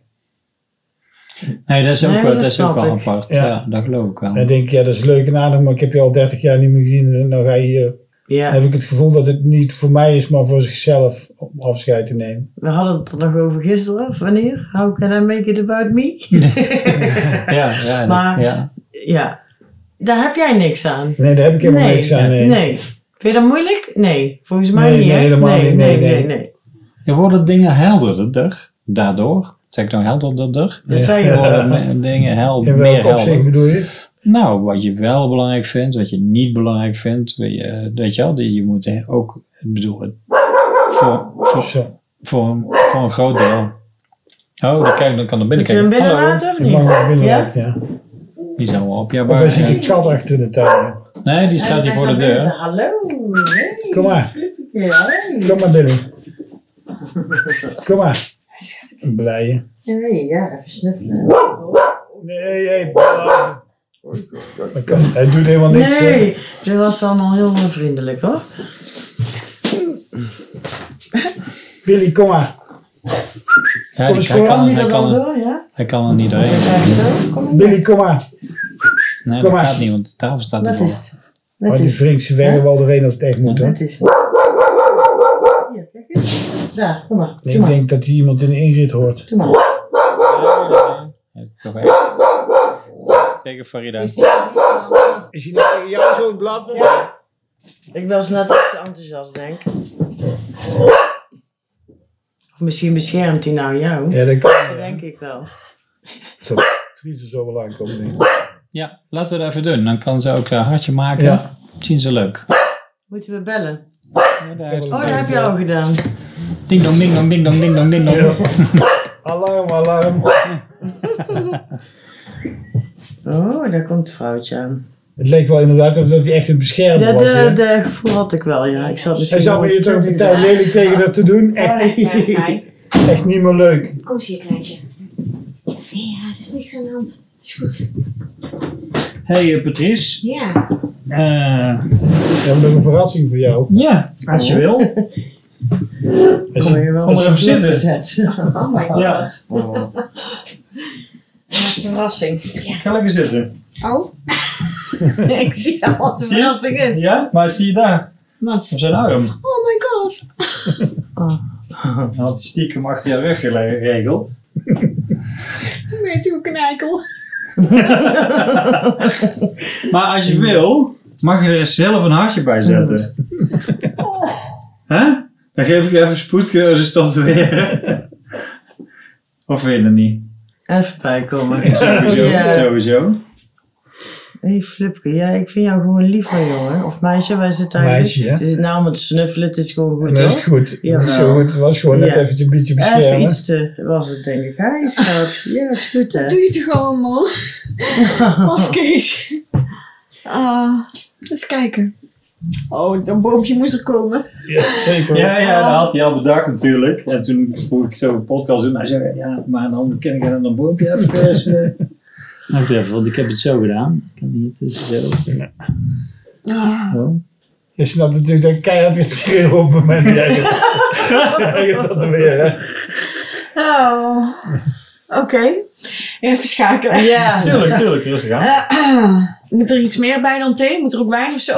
Nee, dat is ook,
Nee,
wel,
dat
dat is ook
snap
wel
ik.
apart. Ja.
Ja.
dat geloof ik wel.
En dan denk ik, ja, dat is leuk en aardig, maar ik heb je al 30 jaar niet meer gezien. En dan ga je hier.
Ja,
Dan heb ik het gevoel dat het niet voor mij is, maar voor zichzelf om afscheid te nemen.
we hadden het er nog over gisteren. of Wanneer? How can I make it about me?
Ja, ja,
Maar-
ja.
ja. Daar heb jij niks aan.
Nee, daar heb ik helemaal
Nee,
niks aan. Nee.
Nee. Vind je dat moeilijk? Nee. Volgens mij
Nee,
niet,
nee,
hè?
helemaal
nee,
niet.
Nee,
Nee,
nee, nee.
nee.
Ja, worden dingen helderder daardoor? Zeg ik nou helderder?
Dat
Ja.
zei je al.
Worden me- dingen hel, meer
In welk opzicht
helder?
bedoel je?
Nou, wat je wel belangrijk vindt, wat je niet belangrijk vindt. Weet je, weet je wel, die, je moet hè, ook, ik bedoel, het- voor, voor,
Zo.
voor, een- voor een groot deel. Oh, dan, kijk, dan kan er binnen
Moet je hem
kijken.
binnen
Hallo.
laten of
Ik mag
niet?
naar binnen
Ja?
laten, ja.
Die zijn wel op. Ja,
Of
maar,
hij ziet een kat achter de tuin.
nee, die staat hier voor de deur.
Hallo. Hey.
Kom maar,
Ja, hey.
kom maar binnen. Kom maar. Een blije.
Hey, ja, even snuffelen.
Nee, hey, blij. Hij kan- Hij doet helemaal niks. hè.
Nee, ze was allemaal heel vriendelijk hoor.
Billy, kom maar.
Ja,
Kom
die,
eens
hij,
voor.
kan,
Kan die
hij,
er
kan,
dan
er-
door, ja?
hij kan er niet
Even
doorheen.
kijken zo. Kom hier.
Billy, kom maar.
Nee,
Kom
dat
maar.
gaat niet, want de tafel staat
Wat
ervoor.
is het?
Maar
Wat
die
is het?
vringt ze weg wel doorheen als het echt moet hoor.
Wat is het? Hier, kijk eens. Daar, kom maar.
Nee,
Doe
ik
maar.
denk dat hij iemand in de inrit hoort.
Doe maar.
Ja, toch echt. Tegen Farida.
Is hij nou tegen jou zo blaffen?
Ik was net iets te enthousiast, denk ik. Of misschien beschermt hij nou jou.
Ja, dat
Dat
kan.
denk ik wel.
Zal Dries er zo wel aankomen. denk ik.
Ja, laten we dat even doen. Dan kan ze ook een hartje maken.
Ja.
Zien ze leuk.
Moeten we bellen?
heeft-
Oh, dat heb je al gedaan.
Ding dong, ding dong, ding dong, ding dong, ding dong.
Alarm, alarm.
Oh, daar komt het vrouwtje aan.
Het leek wel inderdaad of dat hij echt een beschermer
Ja,
was. hè?
de, de gevoel had ik wel, ja. Ik zat
Hij
misschien
zat me
wel-
hier toch een partij
Ja.
lelijk tegen dat te doen.
Oh,
Echt,
hij is daar, kijk.
echt niet meer leuk.
Kom eens hier, Oh, kleintje. Nee, ja, er is niks aan de hand. Is goed.
Hey eh, Patrice.
Ja.
Eh,
We hebben nog een verrassing voor jou.
ja, als je wil.
Als
Kom
je-
je wel
Kom maar
eens
even
op
zitten.
gezet.
Oh my god.
Ja.
Dat is een verrassing.
Ga lekker zitten.
Oh? ik zie al wat een
Zie je?
verrassing is.
Ja, maar zie je daar?
Wat?
Op zijn arm.
Oh my god.
Dan had hij stiekem achter je rug gele- geregeld.
Ik ben natuurlijk een eikel.
Maar als je wil, mag je er zelf een hartje bij zetten. Hè? Dan geef ik je even spoedcursus tot weer. Of wil je dat niet?
Even bijkomen.
Sowieso.
Ja.
sowieso.
Hé hey, Flipke, ja, ik vind jou gewoon lief hoor, jongen. Of meisje, wij zitten eigenlijk...
Meisje, hè?
Ze zit nou met te snuffelen, het is gewoon goed,
Dat is
toch?
goed.
Ja.
Dat is zo goed. Het was gewoon net
Ja.
eventjes een beetje
Even
beschermen.
iets te... was het, denk ik. Hij schat. Ja, is goed, hè?
Doe je toch gewoon, man? Of Kees. Ah, eens kijken. Oh, dat boompje moest er komen.
Ja, zeker.
Ja, ja, dat had hij al bedacht natuurlijk. En toen vroeg ik zo een podcast doen. Hij zei, ja, maar dan ken ik er een boompje even persen. Wacht even, want ik heb het zo gedaan. Ik kan dus hier tussen zo.
Ah.
zo.
Je snapt natuurlijk dat ik keihard gaat schreeuwen op het moment dat jij jij gaat dat weer, hè?
Oh. Oké. Even schakelen.
Ja.
Tuurlijk, tuurlijk, rustig aan.
Moet er iets meer bij dan thee? Moet er ook wijn of zo?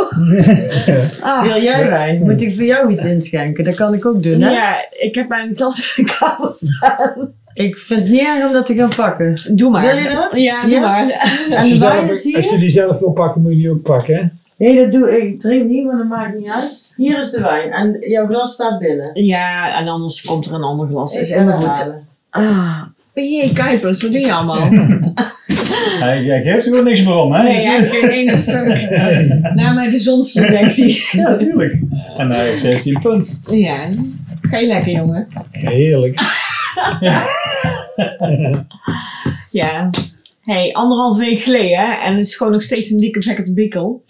Ah.
Wil jij wijn? Moet ik voor jou iets inschenken? Dat kan ik ook doen, hè?
Ja, ik heb mijn glas in de kabel staan.
Ik vind het niet erg om dat te gaan pakken.
Doe maar.
Wil je dat?
Ja, doe
Ja.
maar.
Als
En
je,
de
zelf,
wijn is
als je
hier?
die zelf wil pakken, moet je die ook pakken, hè?
Nee, dat doe ik. Ik drink niet, maar dat maakt niet uit. Hier is de wijn. En jouw glas staat binnen.
Ja, en anders komt er een ander glas. Is
Ik ga
helemaal
dat
goed.
halen.
Ah. PJ Kuipers, wat doe je allemaal?
Hij, hij geeft er gewoon niks meer om, hè?
Nee, hij heeft geen ene fuck. Na mij de zonstoellectie.
Ja, tuurlijk. En hij heeft 17 punt.
Ja. Ga je lekker, jongen.
Heerlijk.
Ja. hey, anderhalf week geleden hè, en het is gewoon nog steeds een dikke vek op de bikkel.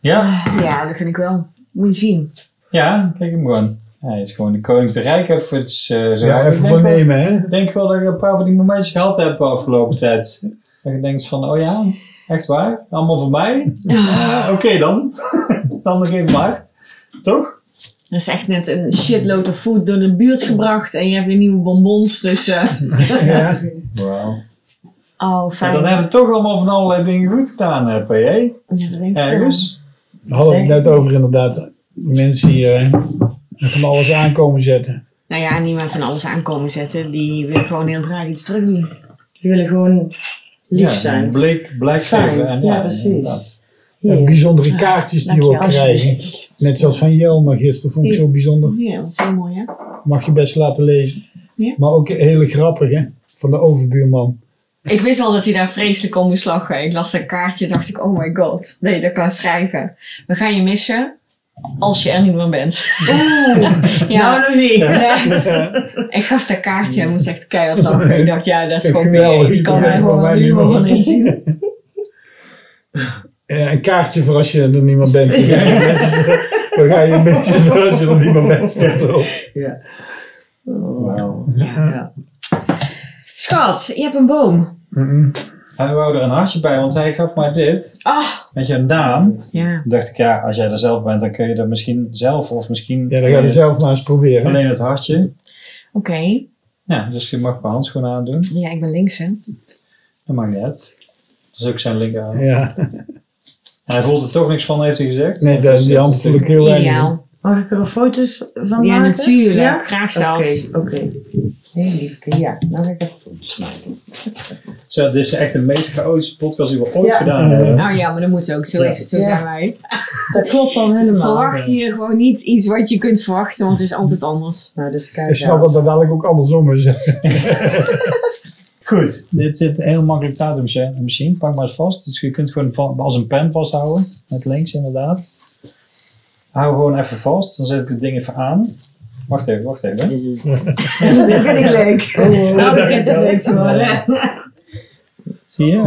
Ja,
Ja, dat vind ik wel. Moet je zien.
ja, kijk hem gewoon. Hij is gewoon de koning te rijk even. Dus, eh, zo.
Ja,
Ik
even
denk
voor
wel-
nemen, hè?
Ik denk wel dat ik een paar van die momentjes gehad heb de afgelopen tijd. Dat je denkt van, oh ja, echt waar? Allemaal voor mij? Ah, Oké dan. dan nog even maar. Toch?
Er is echt net een shitload of food door de buurt gebracht en je hebt weer nieuwe bonbons, dus... eh,
Ja.
Wauw.
Oh, fijn.
dan hebben we toch allemaal van allerlei dingen goed gedaan, eh, PJ.
Ja, dat weet ik wel.
Ergens.
Daar hadden we het net over inderdaad. Mensen die eh, van alles aankomen zetten.
Nou ja, niemand van alles aankomen zetten. Die wil gewoon heel graag iets terug doen.
Die willen gewoon lief
Ja,
zijn.
Blik, blijk
Fijn.
geven. En,
Ja, precies.
inderdaad.
En
Hier.
bijzondere kaartjes die we ook
Dankjewel.
krijgen. Net zoals van Jelmer gisteren vond ik zo bijzonder.
Ja, dat is heel mooi, hè?
Mag je best laten lezen.
Ja.
Maar ook hele grappig, hè? Van de overbuurman.
Ik wist al dat hij daar vreselijk om moest lachen. Ik las dat kaartje dacht ik, oh my god. Nee, dat kan schrijven. We gaan je missen als je er niet meer bent. ja,
Nou, nog niet.
nee. Ik gaf dat kaartje en moest echt keihard lachen. Ik dacht, ja, dat is gewoon
Geweldig,
weer. Ik
dat
kan
is
daar gewoon
gewoon
wel
mijn
humor
humor.
van inzien.
Eh, een kaartje voor als je er niemand bent. Dan ga je mensen- dan ga je mensen voor als je er niemand bent. Staat erop.
Ja.
Wauw.
Ja.
Schat, je hebt een boom.
Mm-mm.
Hij wou er een hartje bij, want hij gaf mij dit.
Ah,
Met jouw naam.
ja.
Toen dacht ik, ja, als jij er zelf bent, dan kun je dat misschien zelf. Of misschien
Ja, dan ga je zelf maar eens proberen.
alleen het hartje.
Oké.
Ja, dus je mag mijn handschoenen aandoen.
Ja, ik ben links, hè?
Dat maakt niet uit. Dat is ook zijn linkerhand.
Ja.
En Hij voelt er toch niks van, heeft hij gezegd.
Nee,
Dus
dat,
dat
die hand
is
voel ik
natuurlijk-
heel erg.
Ideaal.
Mag ik er een foto's van
Ja,
maken?
natuurlijk.
Ja?
Graag
Oké,
zelfs.
oké. Nee, liefke, ja. Dan ga ik even foto's maken.
Zo, dit is echt de meest chaotische podcast die we ooit
Ja.
gedaan hebben.
Nou ja, maar dat moet ook. Zo,
Ja.
is het, zo
Ja.
zijn wij.
Dat klopt dan helemaal.
Verwacht hier gewoon niet iets wat je kunt verwachten, want het is altijd anders.
Nou, dus kijk
Ik snap dat dat dadelijk ook andersom is.
Goed, dit zit heel makkelijk datum misschien. Pak maar het vast. Dus je kunt gewoon va- als een pen vasthouden. Met links inderdaad. Hou gewoon even vast. Dan zet ik het ding even aan. Wacht even, wacht even.
Dit is...
Oh,
Dat vind ik leuk. Nou, dat begint het leuk te worden.
Zie je?
ik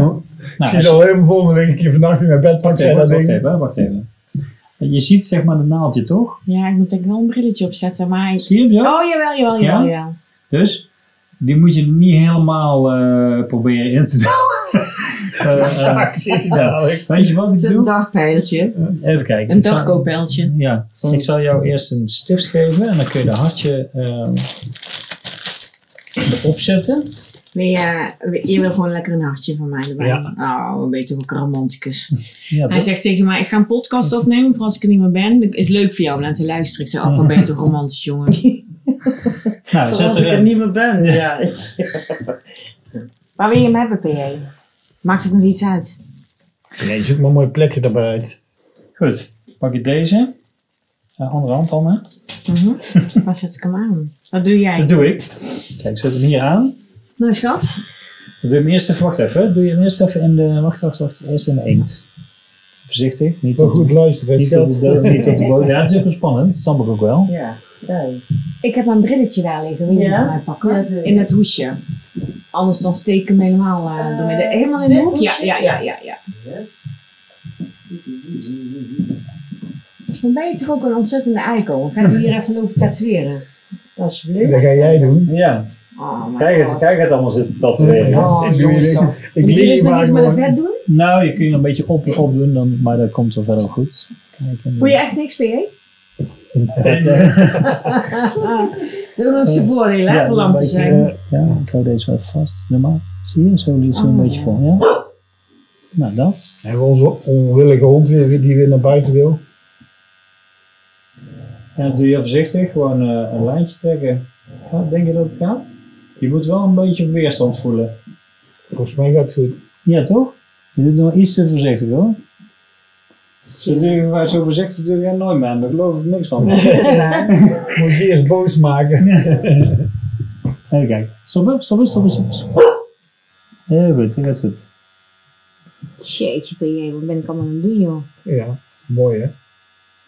Nou,
zit al helemaal vol, dan lig ik je vannacht in mijn bed, pak jij
Oké,
dat
wacht, wacht
ding.
even, wacht even. Je ziet zeg maar een naaldje, toch?
Ja, ik moet denk ik wel een brilletje opzetten, maar... ik-
Zie je hem zo?
Oh, jawel, jawel,
Ja?
jawel, jawel.
Dus die moet je er niet helemaal eh, proberen in te doen. Eh, eh,
Zak, zit je
ja.
dadelijk.
weet je wat
Het
ik
is een
doe?
dagpijltje.
Even kijken.
Een
Ik zal-
dagkoopijltje.
Ja, ik zal jou eerst een stift geven en dan kun je de hartje ehm, opzetten.
Wil je, je wil gewoon lekker een hartje van mij erbij.
Ja.
Oh, we weten ook een romanticus.
Ja,
Hij
dat-
zegt tegen mij, ik ga een podcast opnemen voor als ik er niet meer ben. Het is leuk voor jou om naar te luisteren. Ik zei, oh, wat ben je toch romantisch, jongen.
nou,
Voor als
zet
ik er
er,
niet meer ben. Ja.
Waar wil je hem hebben, PJ?
Maakt het nog iets uit?
Nee, zoek maar een mooi plekje daarbij uit.
goed, pak je deze. Eh, andere hand dan, hè?
Waar zet ik hem aan? Wat doe jij?
Dat doe ik. Kijk, zet hem hier aan.
Nou, schat.
Doe hem eerst even, wacht even. Doe je hem eerst even in de, wacht, wacht, wacht. Eerst in de inkt. Voorzichtig, niet
Wel
op,
goed luisteren, het
niet op,
scheelt.
de, niet op de bodem. Ja, het is ook wel spannend, dat snap ik ook wel.
Ja. Ja.
Ik heb mijn brilletje daar liggen. Wil je
Ja?
hem nou mij pakken?
Ja, tuurlijk.
In het hoesje. Anders dan steek ik hem helemaal eh, door midden. Helemaal in
dit
het hoekje? Ja,
hoesje?
ja, ja, ja, ja.
Yes.
Dan ben je toch ook een ontzettende eikel. Ga je hier even lopen tatoeëren?
Alsjeblieft.
Dat ga jij doen.
Ja,
Oh, my
kijk het,
God.
kijk het allemaal zitten tatoeëren.
Oh,
Ik doe
jongens
het.
toch.
Ik
Wil je
leer
dus
je
nog
maar
iets met het
gewoon.
vet doen?
Nou, je kunt er een beetje op, op doen, dan, maar dat komt wel verder wel goed. Kijk, en- eh,
Voel je echt niks, PJ?
Dat is ook zijn voordeel,
Ja,
hè, voor lam te
een beetje,
zijn.
eh, ja, ik hou deze wel even vast. Doe maar. Zie je, zo liet ze een
Oh,
beetje
ja.
vol. Ja? Nou, dat.
Hebben we onze onwillige hond weer, die weer naar buiten wil?
Ja, doe je voorzichtig, gewoon eh, een lijntje trekken. Ja, denk je dat het gaat? Je moet wel een beetje weerstand voelen.
Volgens mij gaat het goed.
Ja, toch? Je doet nog iets te voorzichtig hoor. Zo, doe je, maar zo voorzichtig doe jij nooit meer aan, daar geloof ik niks van.
Moet je eerst boos maken.
Even kijken. Stoppen, stoppen, stoppen, stoppen. stoppen. Heel goed, dat gaat goed.
Jeetje, PJ, wat ben ik allemaal aan het doen, joh?
Ja, mooi hè?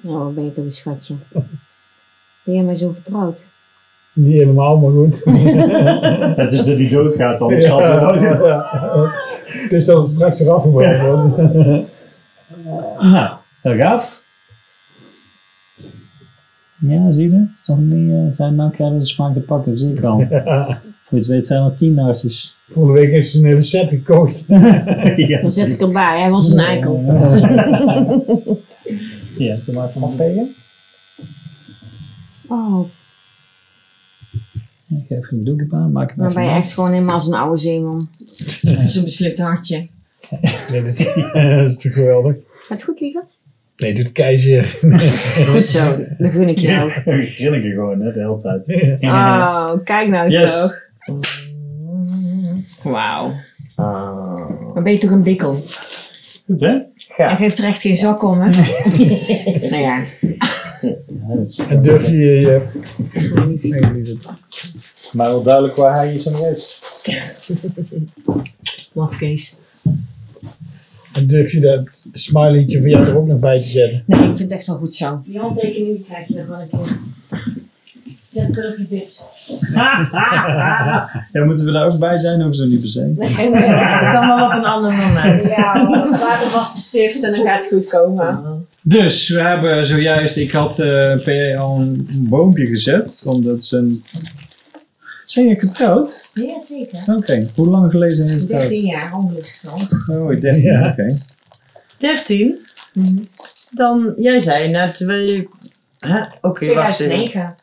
Nou, wat ben je toch een schatje. Ben jij mij zo vertrouwd?
Niet helemaal, maar goed.
Het is dat hij doodgaat, dan
Het is dat het straks weer afgebracht wordt.
Nou, heel gaaf. Ja, zie je? Toch niet, eh, zijn nou krijgen de smaak te pakken, zie ik al. Voor je het weet zijn er tien hartjes.
Volgende week heeft ze een hele set gekocht.
ja,
Dan zet ik erbij, hij was een eikel.
ja, doe maar even afvegen.
Oh,
Ik geef hem een doekje aan, maak hem
dan
even
ben je
af.
echt gewoon helemaal als een oude zeeman.
Zo'n beslikt hartje.
Nee, dat, is, dat is toch geweldig?
Gaat goed, lieverd?
Nee, doet keizer.
Goed zo, dat gun ik jou.
Grinnik je gewoon, hè, de hele tijd.
Oh, kijk nou
Yes.
toch.
Wauw.
Maar ben je toch een bikkel?
Goed, hè?
Hij geeft er echt geen zak om, hè?
Nou ja,
Ja, dat is-
En durf je je... Nee, lieverd.
Maar wel duidelijk waar hij iets aan heeft.
Lafkees.
En durf je dat smileytje van jou er ook nog bij te zetten?
Nee, ik vind het echt wel goed zo.
die handtekening die krijg je nog wel een keer. Zet het op je bits.
Ja, moeten we daar ook bij zijn of zo niet per se?
Nee, nee,
Dat kan wel op een ander moment.
Ja, laat een vaste stift en dan gaat het goed komen.
Dus we hebben zojuist, ik had eh PA al een boompje gezet, omdat ze een... Zijn je getrouwd?
Ja, zeker.
Oké, hoe lang geleden zijn je getrouwd?
13 jaar, ongeluksgetal.
Oh, 13,
Ja.
oké.
13. Mhm. Dan, jij zei net, wil je... Hè? Oké, wacht even.
2009.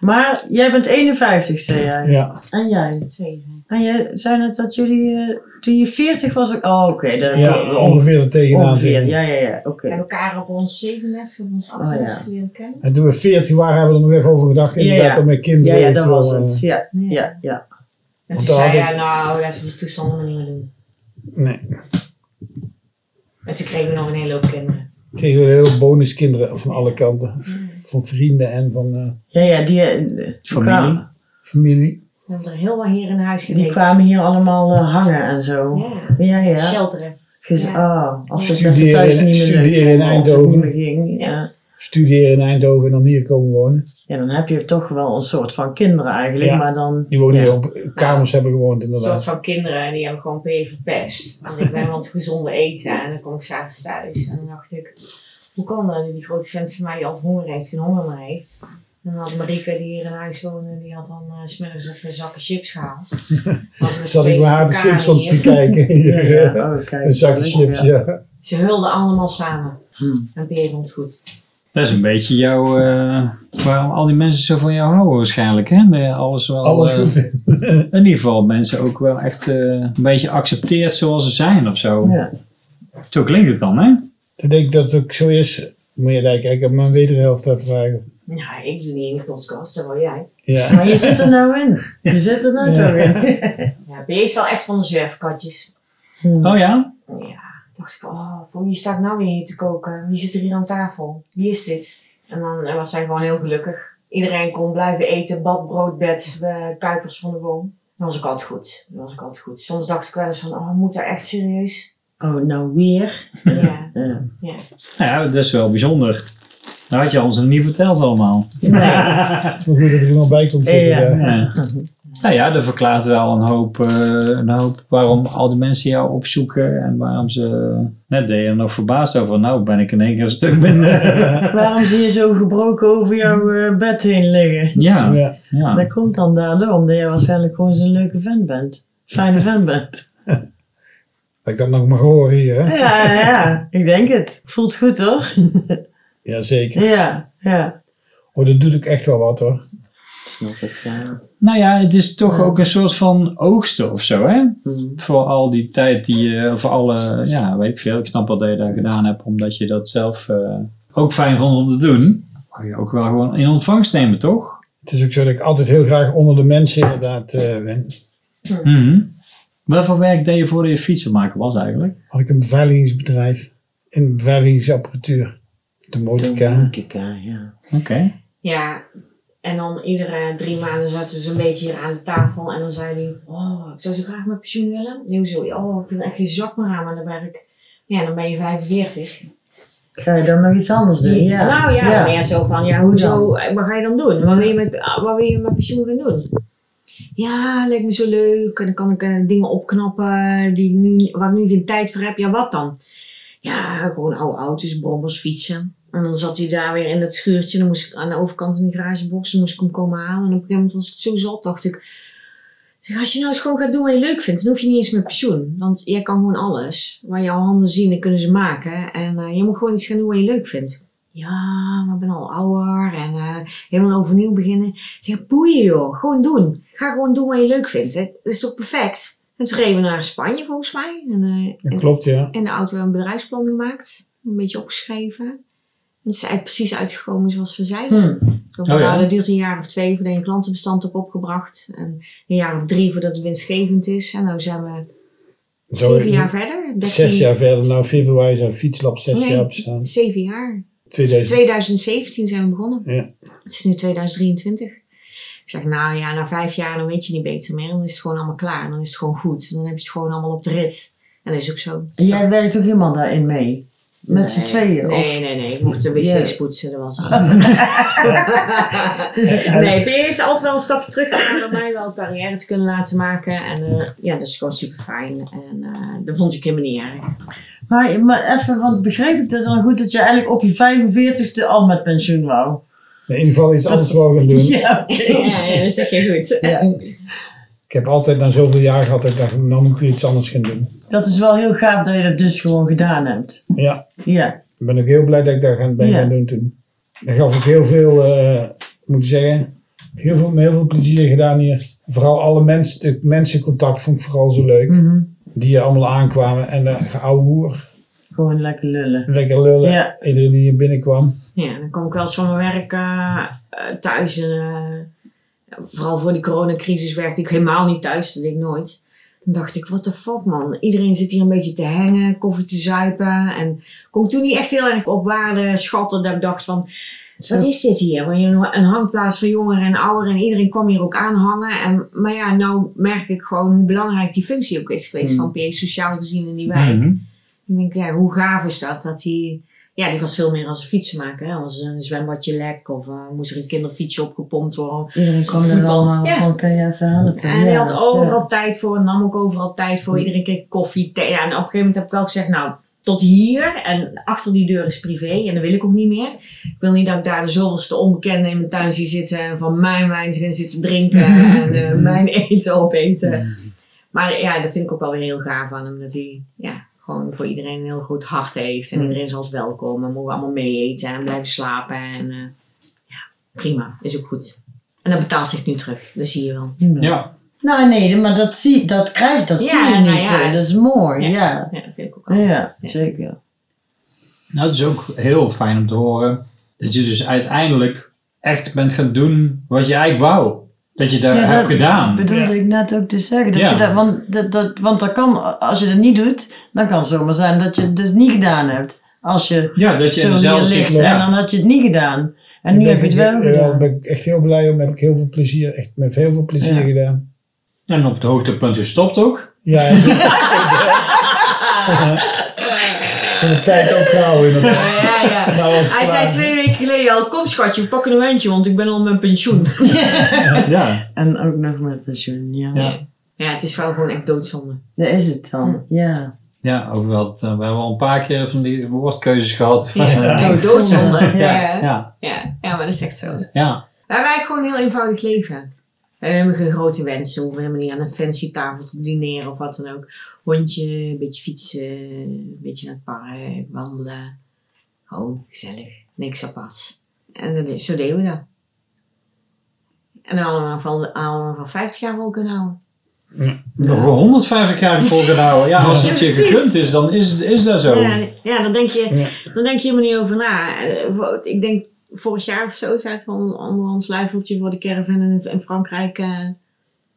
Maar jij bent 51, zei jij.
Ja.
En jij?
2009.
En jij zei net dat jullie... eh, toen je 40 was... Oh, oké. daar-
Ja,
ongeveer.
ongeveer er tegenaan zitten.
Ja, ja, ja. Oké. Oh,
We hebben elkaar op ons 37 of ons 38ste leren kennen.
En toen we 40 waren, hebben we er nog even over gedacht.
Ja,
Inderdaad,
ja.
dan met
Ja,
kinderen.
ja, dat
terwijl,
was
eh,
het. Ja, ja, ja.
En toen
toen
zei
had
ja,
ik-
nou, laten we die toestanden maar niet meer doen.
Nee.
En toen kregen we nog een hele hoop kinderen.
Kregen we heel bonus kinderen van alle kanten. V- Van vrienden en van eh,
Ja, ja, die... eh,
Nou,
kwamen-
familie.
We hebben er heel wat hier in huis
Die
gereden.
kwamen hier allemaal eh, hangen en zo.
Ja,
Ja, ja.
shelteren.
Gez-
Ja.
oh, als het
Studeren
even thuis
in-
niet meer leuk
studeren in
vond, of het
Eindhoven.
niet meer ging. Ja.
studeren in Eindhoven en dan hier komen wonen.
Ja, dan heb je toch wel een soort van kinderen eigenlijk,
Ja.
maar dan...
Die wonen
ja.
hier op kamers hebben gewoond
Een soort
inderdaad.
van kinderen en die hebben gewoon P verpest. Want ik ben wat gezonde eten en dan kom ik s'avonds thuis. En dan dacht ik, hoe kan dat nu? Die grote vent van mij die altijd honger heeft, geen honger meer heeft. En dan had Marika die hier in huis woonde, die had dan eh, 's smiddags even zakken chips gehaald. Was er
Zat ik maar haar de Simpsons te kijken.
Ja,
Hier,
ja.
eh,
Oh, kijk.
Een zakje
Ja.
chips, ja.
Ze hulden allemaal samen.
Hmm.
En P vond het goed.
Dat is een beetje jouw... eh, waarom al die mensen zo van jou houden waarschijnlijk, hè? Dat je Alles wel...
Alles
eh,
goed vinden.
in ieder geval mensen ook wel echt eh, een beetje accepteert zoals ze zijn of zo.
Ja.
Zo klinkt het dan, hè?
Ik denk dat het ook zo is. Moet je daar eigenlijk aan mijn wederhelft aan vragen.
Nou, ik doe niet in de podcast, dat wil jij.
Ja.
Maar je zit er nou in. Je zit er nou
Ja.
toch in.
Ja, P is wel echt van de zwerfkatjes.
Oh ja?
Ja, dacht ik, oh, voor wie sta ik nou weer hier te koken? Wie zit er hier aan tafel? Wie is dit? En dan eh, was hij gewoon heel gelukkig. Iedereen kon blijven eten, bad, brood, bed, eh, kuipers van de boom. Dat was ook altijd goed. Dat was ook altijd goed. Soms dacht ik wel eens van, oh, moet daar echt serieus?
Oh, nou weer. Eh,
Ja.
Ja.
Nou ja, dat is wel bijzonder. Dat had je ons nog niet verteld allemaal.
Nee.
Het is maar goed dat er iemand bij komt zitten.
Ja.
ja.
Ja. Nou ja, dat verklaart wel een hoop, eh, een hoop waarom al die mensen jou opzoeken en waarom ze eh, net deden nog verbaasd over. Nou, ben ik in één keer een stuk minder.
Waarom zie je zo gebroken over jouw eh, bed heen liggen?
ja,
Ja.
ja.
Dat komt dan daardoor, omdat jij waarschijnlijk gewoon zo'n leuke vent bent. Fijne vent bent.
Dat ik dat nog mag horen hier, hè?
Ja, ja, ik denk het. Voelt goed hoor.
Jazeker.
Ja, ja.
Oh, dat doet ook echt wel wat, hoor.
Snap ik, ja.
Nou ja, Mhm. het is toch ook een soort van oogsten of zo, hè? Voor al die tijd die je, voor alle, ja, weet ik veel. Ik snap wel dat je dat gedaan hebt, omdat je dat zelf eh, ook fijn vond om te doen. Mag je ook wel gewoon in ontvangst nemen, toch?
Het is ook zo dat ik altijd heel graag onder de mensen inderdaad eh, ben.
Mhm. Wat voor werk deed je voordat je fietsen maken was eigenlijk?
Had ik een beveiligingsbedrijf. In beveiligingsapparatuur. De
eh,
motorka.
Domotica,
eh,
ja.
Oké.
Ja, en dan iedere drie maanden zaten ze een beetje hier aan de tafel. En dan zei hij, oh, ik zou zo graag mijn pensioen willen. Nu zo, oh, ik vind echt geen zak meer aan aan de werk. Ja, dan ben je 45.
Ga je dan nog iets anders doen? Ja.
Nou ja,
ja.
meer zo van, ja, hoezo, Eh, wat ga je dan doen? Wat wil je met, ah, wat wil je met pensioen gaan doen? Ja, lijkt me zo leuk. En dan kan ik eh, dingen opknappen die ik nu, waar ik nu geen tijd voor heb. Ja, wat dan? Ja, gewoon oude auto's, brommers, fietsen. En dan zat hij daar weer in het schuurtje. Dan moest ik aan de overkant in de garagebox. Dan moest ik hem komen halen. En op een gegeven moment was ik zo zat, dacht ik... Zeg, als je nou eens gewoon gaat doen wat je leuk vindt, dan hoef je niet eens met pensioen. Want jij kan gewoon alles. Waar jouw handen zien, dat kunnen ze maken. En eh, je moet gewoon iets gaan doen wat je leuk vindt. Ja, maar ik ben al ouder en eh, helemaal overnieuw beginnen. Ik zeg, boeien joh, gewoon doen. Ga gewoon doen wat je leuk vindt. hè. Dat is toch perfect? En toen reden we naar Spanje volgens mij. En, eh,
Dat klopt, ja.
en de auto een bedrijfsplan gemaakt. Een beetje opgeschreven. En het is eigenlijk precies uitgekomen zoals we zeiden.
Hmm.
Hm.
Zo van,
Oh ja.
nou, dat duurt een jaar of twee voordat je een klantenbestand hebt opgebracht. En een jaar of drie voordat het winstgevend is. En nou zijn we
Zo-
zeven jaar verder.
Zes
13
jaar verder. Nou, februari zou Fietslab zes
Nee.
jaar bestaan.
Zeven jaar.
2000.
2017 zijn we begonnen.
Ja.
Het is nu 2023. Ik zeg, nou ja, na vijf jaar dan weet je niet beter meer. Dan is het gewoon allemaal klaar. Dan is het gewoon goed. Dan heb je het gewoon allemaal op de rit. En dat is ook zo.
En jij werkt ook helemaal daarin mee? Met z'n
Nee.
tweeën?
Nee,
Of?
nee, nee. Ik mocht de wc's
Ja.
poetsen. Dat was het. nee, P heeft altijd wel een stapje terug gedaan om mij wel carrière te kunnen laten maken. En eh, ja, dat is gewoon super fijn. En eh, dat vond ik helemaal niet erg.
Maar, maar even, want begreep ik dat dan goed dat je eigenlijk op je 45ste al met pensioen wou?
In ieder geval iets anders wou gaan doen.
Ja, oké.
Ja, ja, dat zeg je goed.
Ja.
Ik heb altijd na zoveel jaar gehad dat ik dacht, nou moet ik weer iets anders gaan doen.
Dat is wel heel gaaf dat je dat dus gewoon gedaan hebt.
Ja,
Ja.
ik ben ook heel blij dat ik daar gaan, ben
Ja.
gaan doen toen. Dat gaf ook heel veel, eh, moet ik zeggen, heel veel, me heel veel plezier gedaan hier. Vooral alle mensen, het mensencontact vond ik vooral zo leuk.
Mhm.
Die hier allemaal aankwamen en eh geouwe hoer,
Gewoon lekker lullen.
lekker lullen.
Ja.
Iedereen die hier binnenkwam.
Ja, dan kwam ik wel eens van mijn werk eh, eh, thuis. En, eh, vooral voor die coronacrisis werkte ik helemaal niet thuis. Dat deed ik nooit. Dan dacht ik, what the fuck man. Iedereen zit hier een beetje te hangen, koffie te zuipen. En kon ik toen niet echt heel erg op waarde schatten. Dat ik dacht van, wat is dit hier? Want je- Een hangplaats voor jongeren en ouderen. En iedereen kwam hier ook aanhangen. En, maar ja, nou merk ik gewoon hoe belangrijk die functie E,
Mm.
ook is geweest. Van PA sociaal gezien in die wijk.
Mhm.
Ik denk, ja, hoe gaaf is dat? Dat die Ja, die was veel meer als fietsen maken. Hè? Als een zwembadje lek of eh, moest er een kinderfietsje opgepompt worden.
Iedereen kwam er
Voetbal.
allemaal
Ja.
van, kun je even helpen?
En hij
Ja,
had overal tijd voor, nam ook overal tijd voor. Iedereen kreeg koffie, thee. Ja, en op een gegeven moment heb ik wel gezegd, nou, tot hier. En achter die deur is privé en dat wil ik ook niet meer. Ik wil niet dat ik daar de zoveelste onbekende in mijn tuin zie zitten. En van mijn wijn gaan zitten drinken en eh,
Mhm.
mijn eten opeten. Maar ja, dat vind ik ook wel weer heel gaaf aan hem. Dat hij ja, gewoon voor iedereen een heel goed hart heeft. En
Mm.
iedereen is altijd welkom. En mogen we allemaal mee eten en blijven slapen. En eh, ja, prima. Is ook goed. En dat betaalt zich nu terug. Dat zie je wel.
ja.
Ja.
Nou nee, maar dat, zie, dat krijg dat
Ja,
zie je
nou
niet.
ja.
hè. Dat is mooi, ja.
Ja, dat vind ik ook
Ja,
wel.
zeker.
Nou, het is ook heel fijn om te horen dat je dus uiteindelijk echt bent gaan doen wat je eigenlijk wou. Dat je daar
Ja,
hebt gedaan.
bedoelde ik net ook te zeggen. Dat
Ja.
je dat, want, dat, dat, want dat kan, als je dat niet doet, dan kan het zomaar zijn dat je het dus niet gedaan hebt. Als je
Ja, dat je in
zo hier
dezelfde
ligt
cyclus
en dan had je het niet gedaan. En nu
Daar
heb je
ben
het
ik-
wel
ja, Daar
gedaan.
ben ik echt heel blij om. Heb ik heel veel plezier, echt met heel veel plezier
Ja.
gedaan.
En op het hoogtepunt, je stopt ook.
Ja. en- Ja. En de tijd ook gauw inderdaad.
Ja, ja.
Nou, als
Hij zei
vraag-
twee weken geleden al, kom schatje, we pakken een wijntje, want ik ben al mijn pensioen.
Ja.
En ook nog met pensioen, ja.
Ja.
Ja, het is wel gewoon echt doodzonde.
Dat is het dan, ja.
Ja, ook wel. dat, eh, We hebben al een paar keer van die woordkeuzes gehad. eh,
Ja,
ja.
echt doodzonde. Ja. Ja. Ja.
Ja.
maar dat is echt zo. Wij
Ja.
hebben eigenlijk gewoon een heel eenvoudig leven. We hebben geen grote wensen, we hoeven helemaal niet aan een fancy tafel te dineren of wat dan ook. Hondje, een beetje fietsen, een beetje naar het park, wandelen. Gewoon gezellig, niks apart. En dat is- zo deden we dat. En dan allemaal van, allemaal van 50 jaar vol kunnen houden.
Nog 150 jaar vol kunnen houden. Ja, als
Ja,
het je
precies.
gegund is, dan is, is dat zo.
Ja, ja dan, denk je, dan denk je helemaal niet over na. Eh, vo- Ik denk, vorig jaar of zo zaten we on- onder ons luifeltje voor de caravan in, in Frankrijk. eh,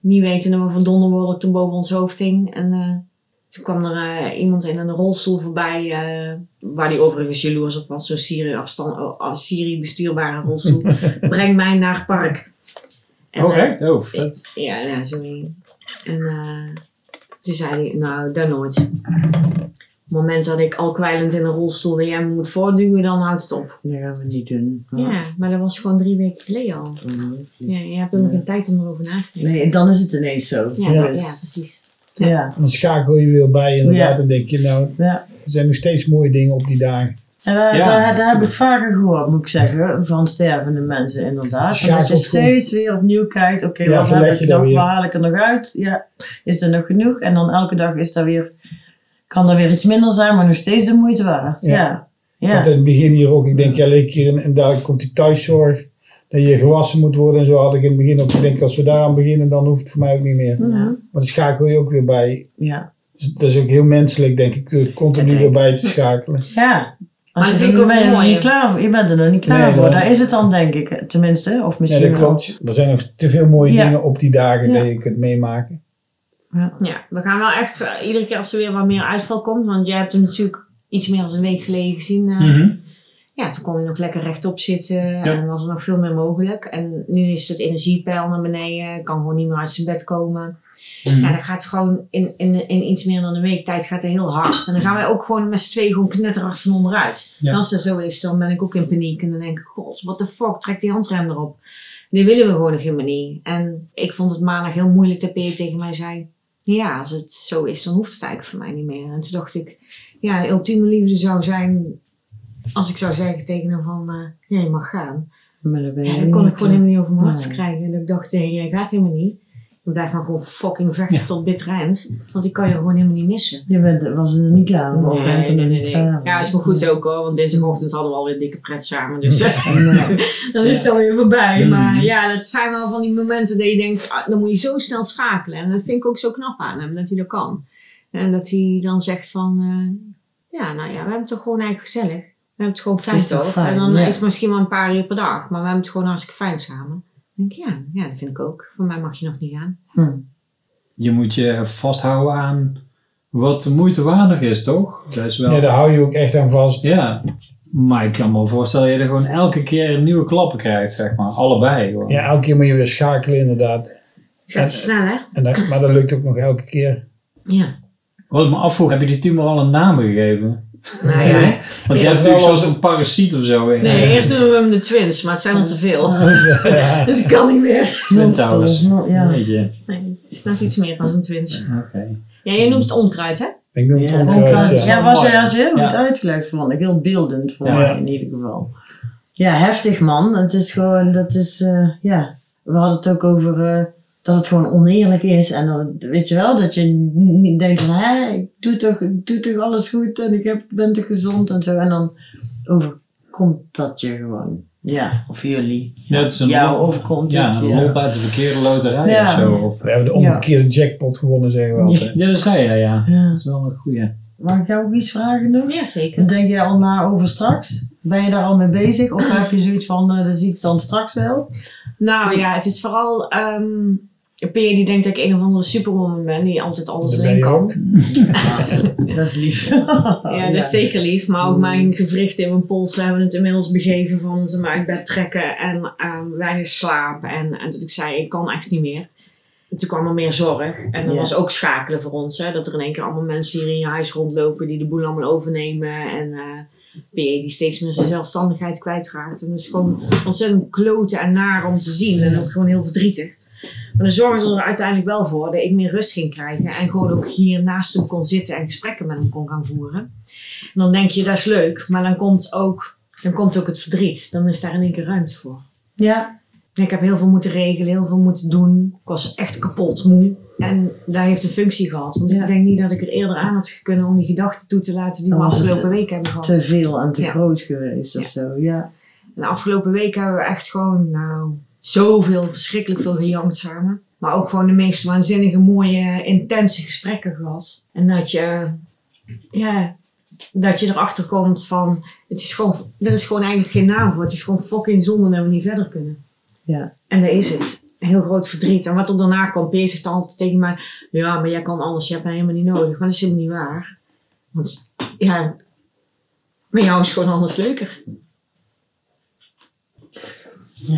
niet wetende maar van donderwolk toen boven ons hoofd hing. En eh, toen kwam er eh, iemand in een rolstoel voorbij, eh, waar die overigens jaloers op was. Zo'n Syrië-bestuurbare oh, Syrië bestuurbare rolstoel. Breng mij naar het park. En,
Oh,
eh,
echt? Oh, vet.
ja, ja, sorry. En eh, toen zei hij, nou, daar nooit. Op het moment dat ik al kwijlend in een rolstoel de jij me moet voortduwen, dan houdt het op.
Dat gaan we niet doen.
Ja, maar dat was gewoon drie weken geleden al. Ja, je hebt helemaal geen tijd om erover na te denken.
Nee, en dan is het ineens zo.
Ja,
Ja,
ja,
dus-
precies.
Ja.
Dan schakel je weer bij inderdaad
Ja.
en denk je nou,
ja.
er zijn nog steeds mooie dingen op die dagen.
En daar,
Ja.
daar, daar heb ik vaker gehoord, moet ik zeggen, van stervende mensen inderdaad.
Schakelt
Dat je
goed.
steeds weer opnieuw kijkt, oké,
Ja,
wat
verleg
heb
je
ik
dan
nog,
weer.
waar haal ik er nog uit? Ja, is er nog genoeg? En dan elke dag is daar weer, kan er weer iets minder zijn, maar nog steeds de moeite waard.
Ja.
Ja,
Ik had
ja.
in het begin hier ook, ik denk ja, leek hier en, en daar komt die thuiszorg. Dat je gewassen moet worden en zo had ik in het begin ook gedacht, als we daaraan beginnen, dan hoeft het voor mij ook niet meer.
Mhm.
ja.
Maar dan schakel je ook weer bij.
ja.
Dus dat is ook heel menselijk, denk ik, door continu weer bij te schakelen.
Ja. Als
Maar
je,
dat
er,
vind ik ook
ben je er
mooi,
niet
hè?
klaar voor, je bent er nog niet klaar
Nee,
voor.
dat-
Daar is het dan, denk ik, tenminste. Of
Nee,
misschien
dat klopt. Er zijn nog te veel mooie
Ja.
dingen op die dagen
Ja.
dat je kunt meemaken.
wel. Ja.
Ja, we gaan wel echt eh, iedere keer als er weer wat meer uitval komt, want jij hebt hem natuurlijk iets meer dan een week geleden gezien. eh,
Mhm.
Ja, toen kon hij nog lekker rechtop zitten en was er nog veel meer mogelijk. En nu is het energiepeil naar beneden, kan gewoon niet meer uit zijn bed komen. Ja, dat gaat gewoon in, in, in iets meer dan een week tijd gaat het heel hard. En dan gaan wij ook gewoon met z'n tweeën gewoon knetterhard van onderuit.
Ja.
En als dat zo is, dan ben ik ook in paniek. En dan denk ik, god, what the fuck, trek die handrem erop. Nu willen we gewoon nog helemaal niet. En ik vond het maandag heel moeilijk dat Peter tegen mij zei... Ja, als het zo is, dan hoeft het eigenlijk voor mij niet meer. En toen dacht ik, ja, de ultieme liefde zou zijn als ik zou zeggen tegen hem van, eh, ja, je mag gaan.
Maar dat ben je
Ja, dan kon ik
niet.
gewoon helemaal niet over mijn hart
Nee.
krijgen. En ik dacht, nee, jij gaat helemaal niet. Dan blijf maar gewoon fucking vechten tot bitter eind. Want die kan je gewoon helemaal niet missen.
Je bent, was er niet klaar voor. of bent er nog niet klaar voor.
Ja, is maar goed ook hoor. Want dinsdagochtend hadden we alweer dikke pret samen. Dus eh,
Nee.
dan is het alweer voorbij.
Mm.
Maar ja, dat zijn wel van die momenten dat je denkt, ah, dan moet je zo snel schakelen. En dat vind ik ook zo knap aan hem, dat hij dat kan. En dat hij dan zegt van, eh, ja, nou ja, we hebben het toch gewoon eigenlijk gezellig. We hebben het gewoon fijn
Het is toch
toch?
fijn,
en dan
ja.
is het misschien wel een paar uur per dag, maar we hebben het gewoon hartstikke fijn samen. Dan denk ik, ja, ja, dat vind ik ook. Voor mij mag je nog niet gaan.
Hm.
Je moet je vasthouden aan wat de moeite waardig is, toch? Dat is wel...
Ja, daar hou je ook echt aan vast.
Ja, maar ik kan me wel voorstellen dat je er gewoon elke keer een nieuwe klappen krijgt, zeg maar. Allebei. Gewoon.
Ja, elke keer moet je weer schakelen inderdaad.
Het gaat snel, hè?
En dat, maar dat lukt ook nog elke keer.
Ja.
Wat ik me afvroeg, heb je die tumor al een naam gegeven?
Nou ja.
Want jij hebt
wel
natuurlijk zoals
als-
een parasiet of zo in. eh,
Nee, eerst noemen we hem de twins, maar het zijn er te veel.
Ja.
Dus ik kan niet meer.
Twin Towers.
Ja.
Weet je.
Nee, het is net iets meer dan een twins.
Oké.
Ja, jij noemt het onkruid, hè?
Ik noem het
Ja,
ook
dat
uit,
kan-
ja.
ja, was hij had je heel
Ja.
goed uitgelegd vond ik. Heel beeldend voor
Ja.
mij in ieder geval. Ja, heftig man. Het is gewoon, dat is, eh, ja. We hadden het ook over eh, dat het gewoon oneerlijk is. En dat, het- weet je wel, dat je niet denkt van, hè, ik doe toch, ik doe toch alles goed en ik heb, ben toch gezond en zo. En dan overkomt dat je gewoon. Ja, of jullie.
Ja, het is een,
Jou
ja,
overkomt het,
een
ja.
lot uit de verkeerde loterij
Ja.
of zo. Of,
We hebben de omgekeerde jackpot gewonnen, zeggen we altijd.
ja, dat zei jij, ja.
Ja.
Dat is wel een goeie.
Mag ik jou ook iets vragen nog?
Ja, zeker.
Denk jij al na over straks? Ben je daar al mee bezig? Of heb je zoiets van, eh dat zie ik dan straks wel?
Nou ja, het is vooral... ehm Peer die denkt dat ik een of andere superwoman ben die altijd alles
Dat ben
alleen
je
kan.
ook.
Dat is lief.
Ja, dat is zeker lief. Maar ook mijn gewrichten in mijn polsen hebben het inmiddels begeven van ze me uit bed trekken en ehm, weinig slaap. En, en dat ik zei, ik kan echt niet meer. En toen kwam er meer zorg. En dat
Ja.
was ook schakelen voor ons. Hè? Dat er in één keer allemaal mensen hier in je huis rondlopen die de boel allemaal overnemen. En eh PA die steeds meer zijn zelfstandigheid kwijtraakt. En dat is gewoon ontzettend kloten en naar om te zien. En ook gewoon heel verdrietig. Maar dat zorgde er uiteindelijk wel voor dat ik meer rust ging krijgen. En gewoon ook hier naast hem kon zitten en gesprekken met hem kon gaan voeren. En dan denk je, dat is leuk. Maar dan komt ook, dan komt ook het verdriet. Dan is daar in één keer ruimte voor.
Ja.
En Ik heb heel veel moeten regelen, heel veel moeten doen. Ik was echt kapot moe. En daar heeft een functie gehad. Want
Ja.
ik denk niet dat ik er eerder aan had kunnen om die gedachten toe te laten die
Dan
we
was het
afgelopen week hebben gehad.
Te veel en te
Ja.
groot geweest of
Ja.
zo, ja.
En de afgelopen week hebben we echt gewoon, nou, zoveel, verschrikkelijk veel gejankt samen. Maar ook gewoon de meest waanzinnige, mooie, intense gesprekken gehad. En dat je, ja, dat je erachter komt van, het is gewoon, er is gewoon eigenlijk geen naam voor. Het is gewoon fucking zonde dat we niet verder kunnen.
Ja.
En daar is het. Een heel groot verdriet. En wat er daarna kwam, Peer zegt altijd tegen mij, ja, maar jij kan alles, je hebt mij helemaal niet nodig. Maar dat is helemaal niet waar. Want, ja, met jou is gewoon alles leuker.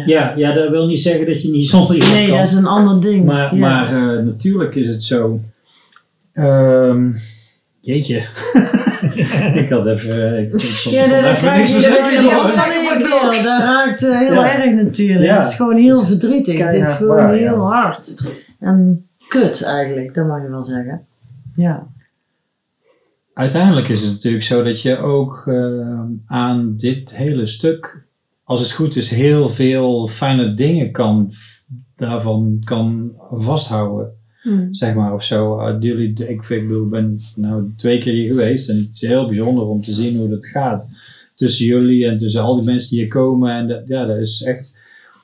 Ja, ja, dat wil niet zeggen dat je niet zonder iemand
Nee,
kan.
dat is een ander ding.
Maar,
ja.
maar eh, natuurlijk is het zo. Ehm, jeetje. ik had even. eh, ik- ik vond
Ja,
het
dat
even
raakt
niks
je
te
wel
zeggen,
heel
maar-
Ja.
erg. Dat raakt eh, heel
Ja.
erg natuurlijk.
Ja.
Het is gewoon heel verdrietig. Het is
Keihard
gewoon
waar, ja.
heel hard. En kut eigenlijk, dat mag je wel zeggen. Ja.
Uiteindelijk is het natuurlijk zo dat je ook ehm, aan dit hele stuk, als het goed is, heel veel fijne dingen kan, daarvan kan vasthouden.
Hmm.
Zeg maar of zo. Eh, jullie, ik, ik bedoel, ik ben nou twee keer hier geweest en het is heel bijzonder om te zien hoe dat gaat. Tussen jullie en tussen al die mensen die hier komen. En dat, ja, dat is echt,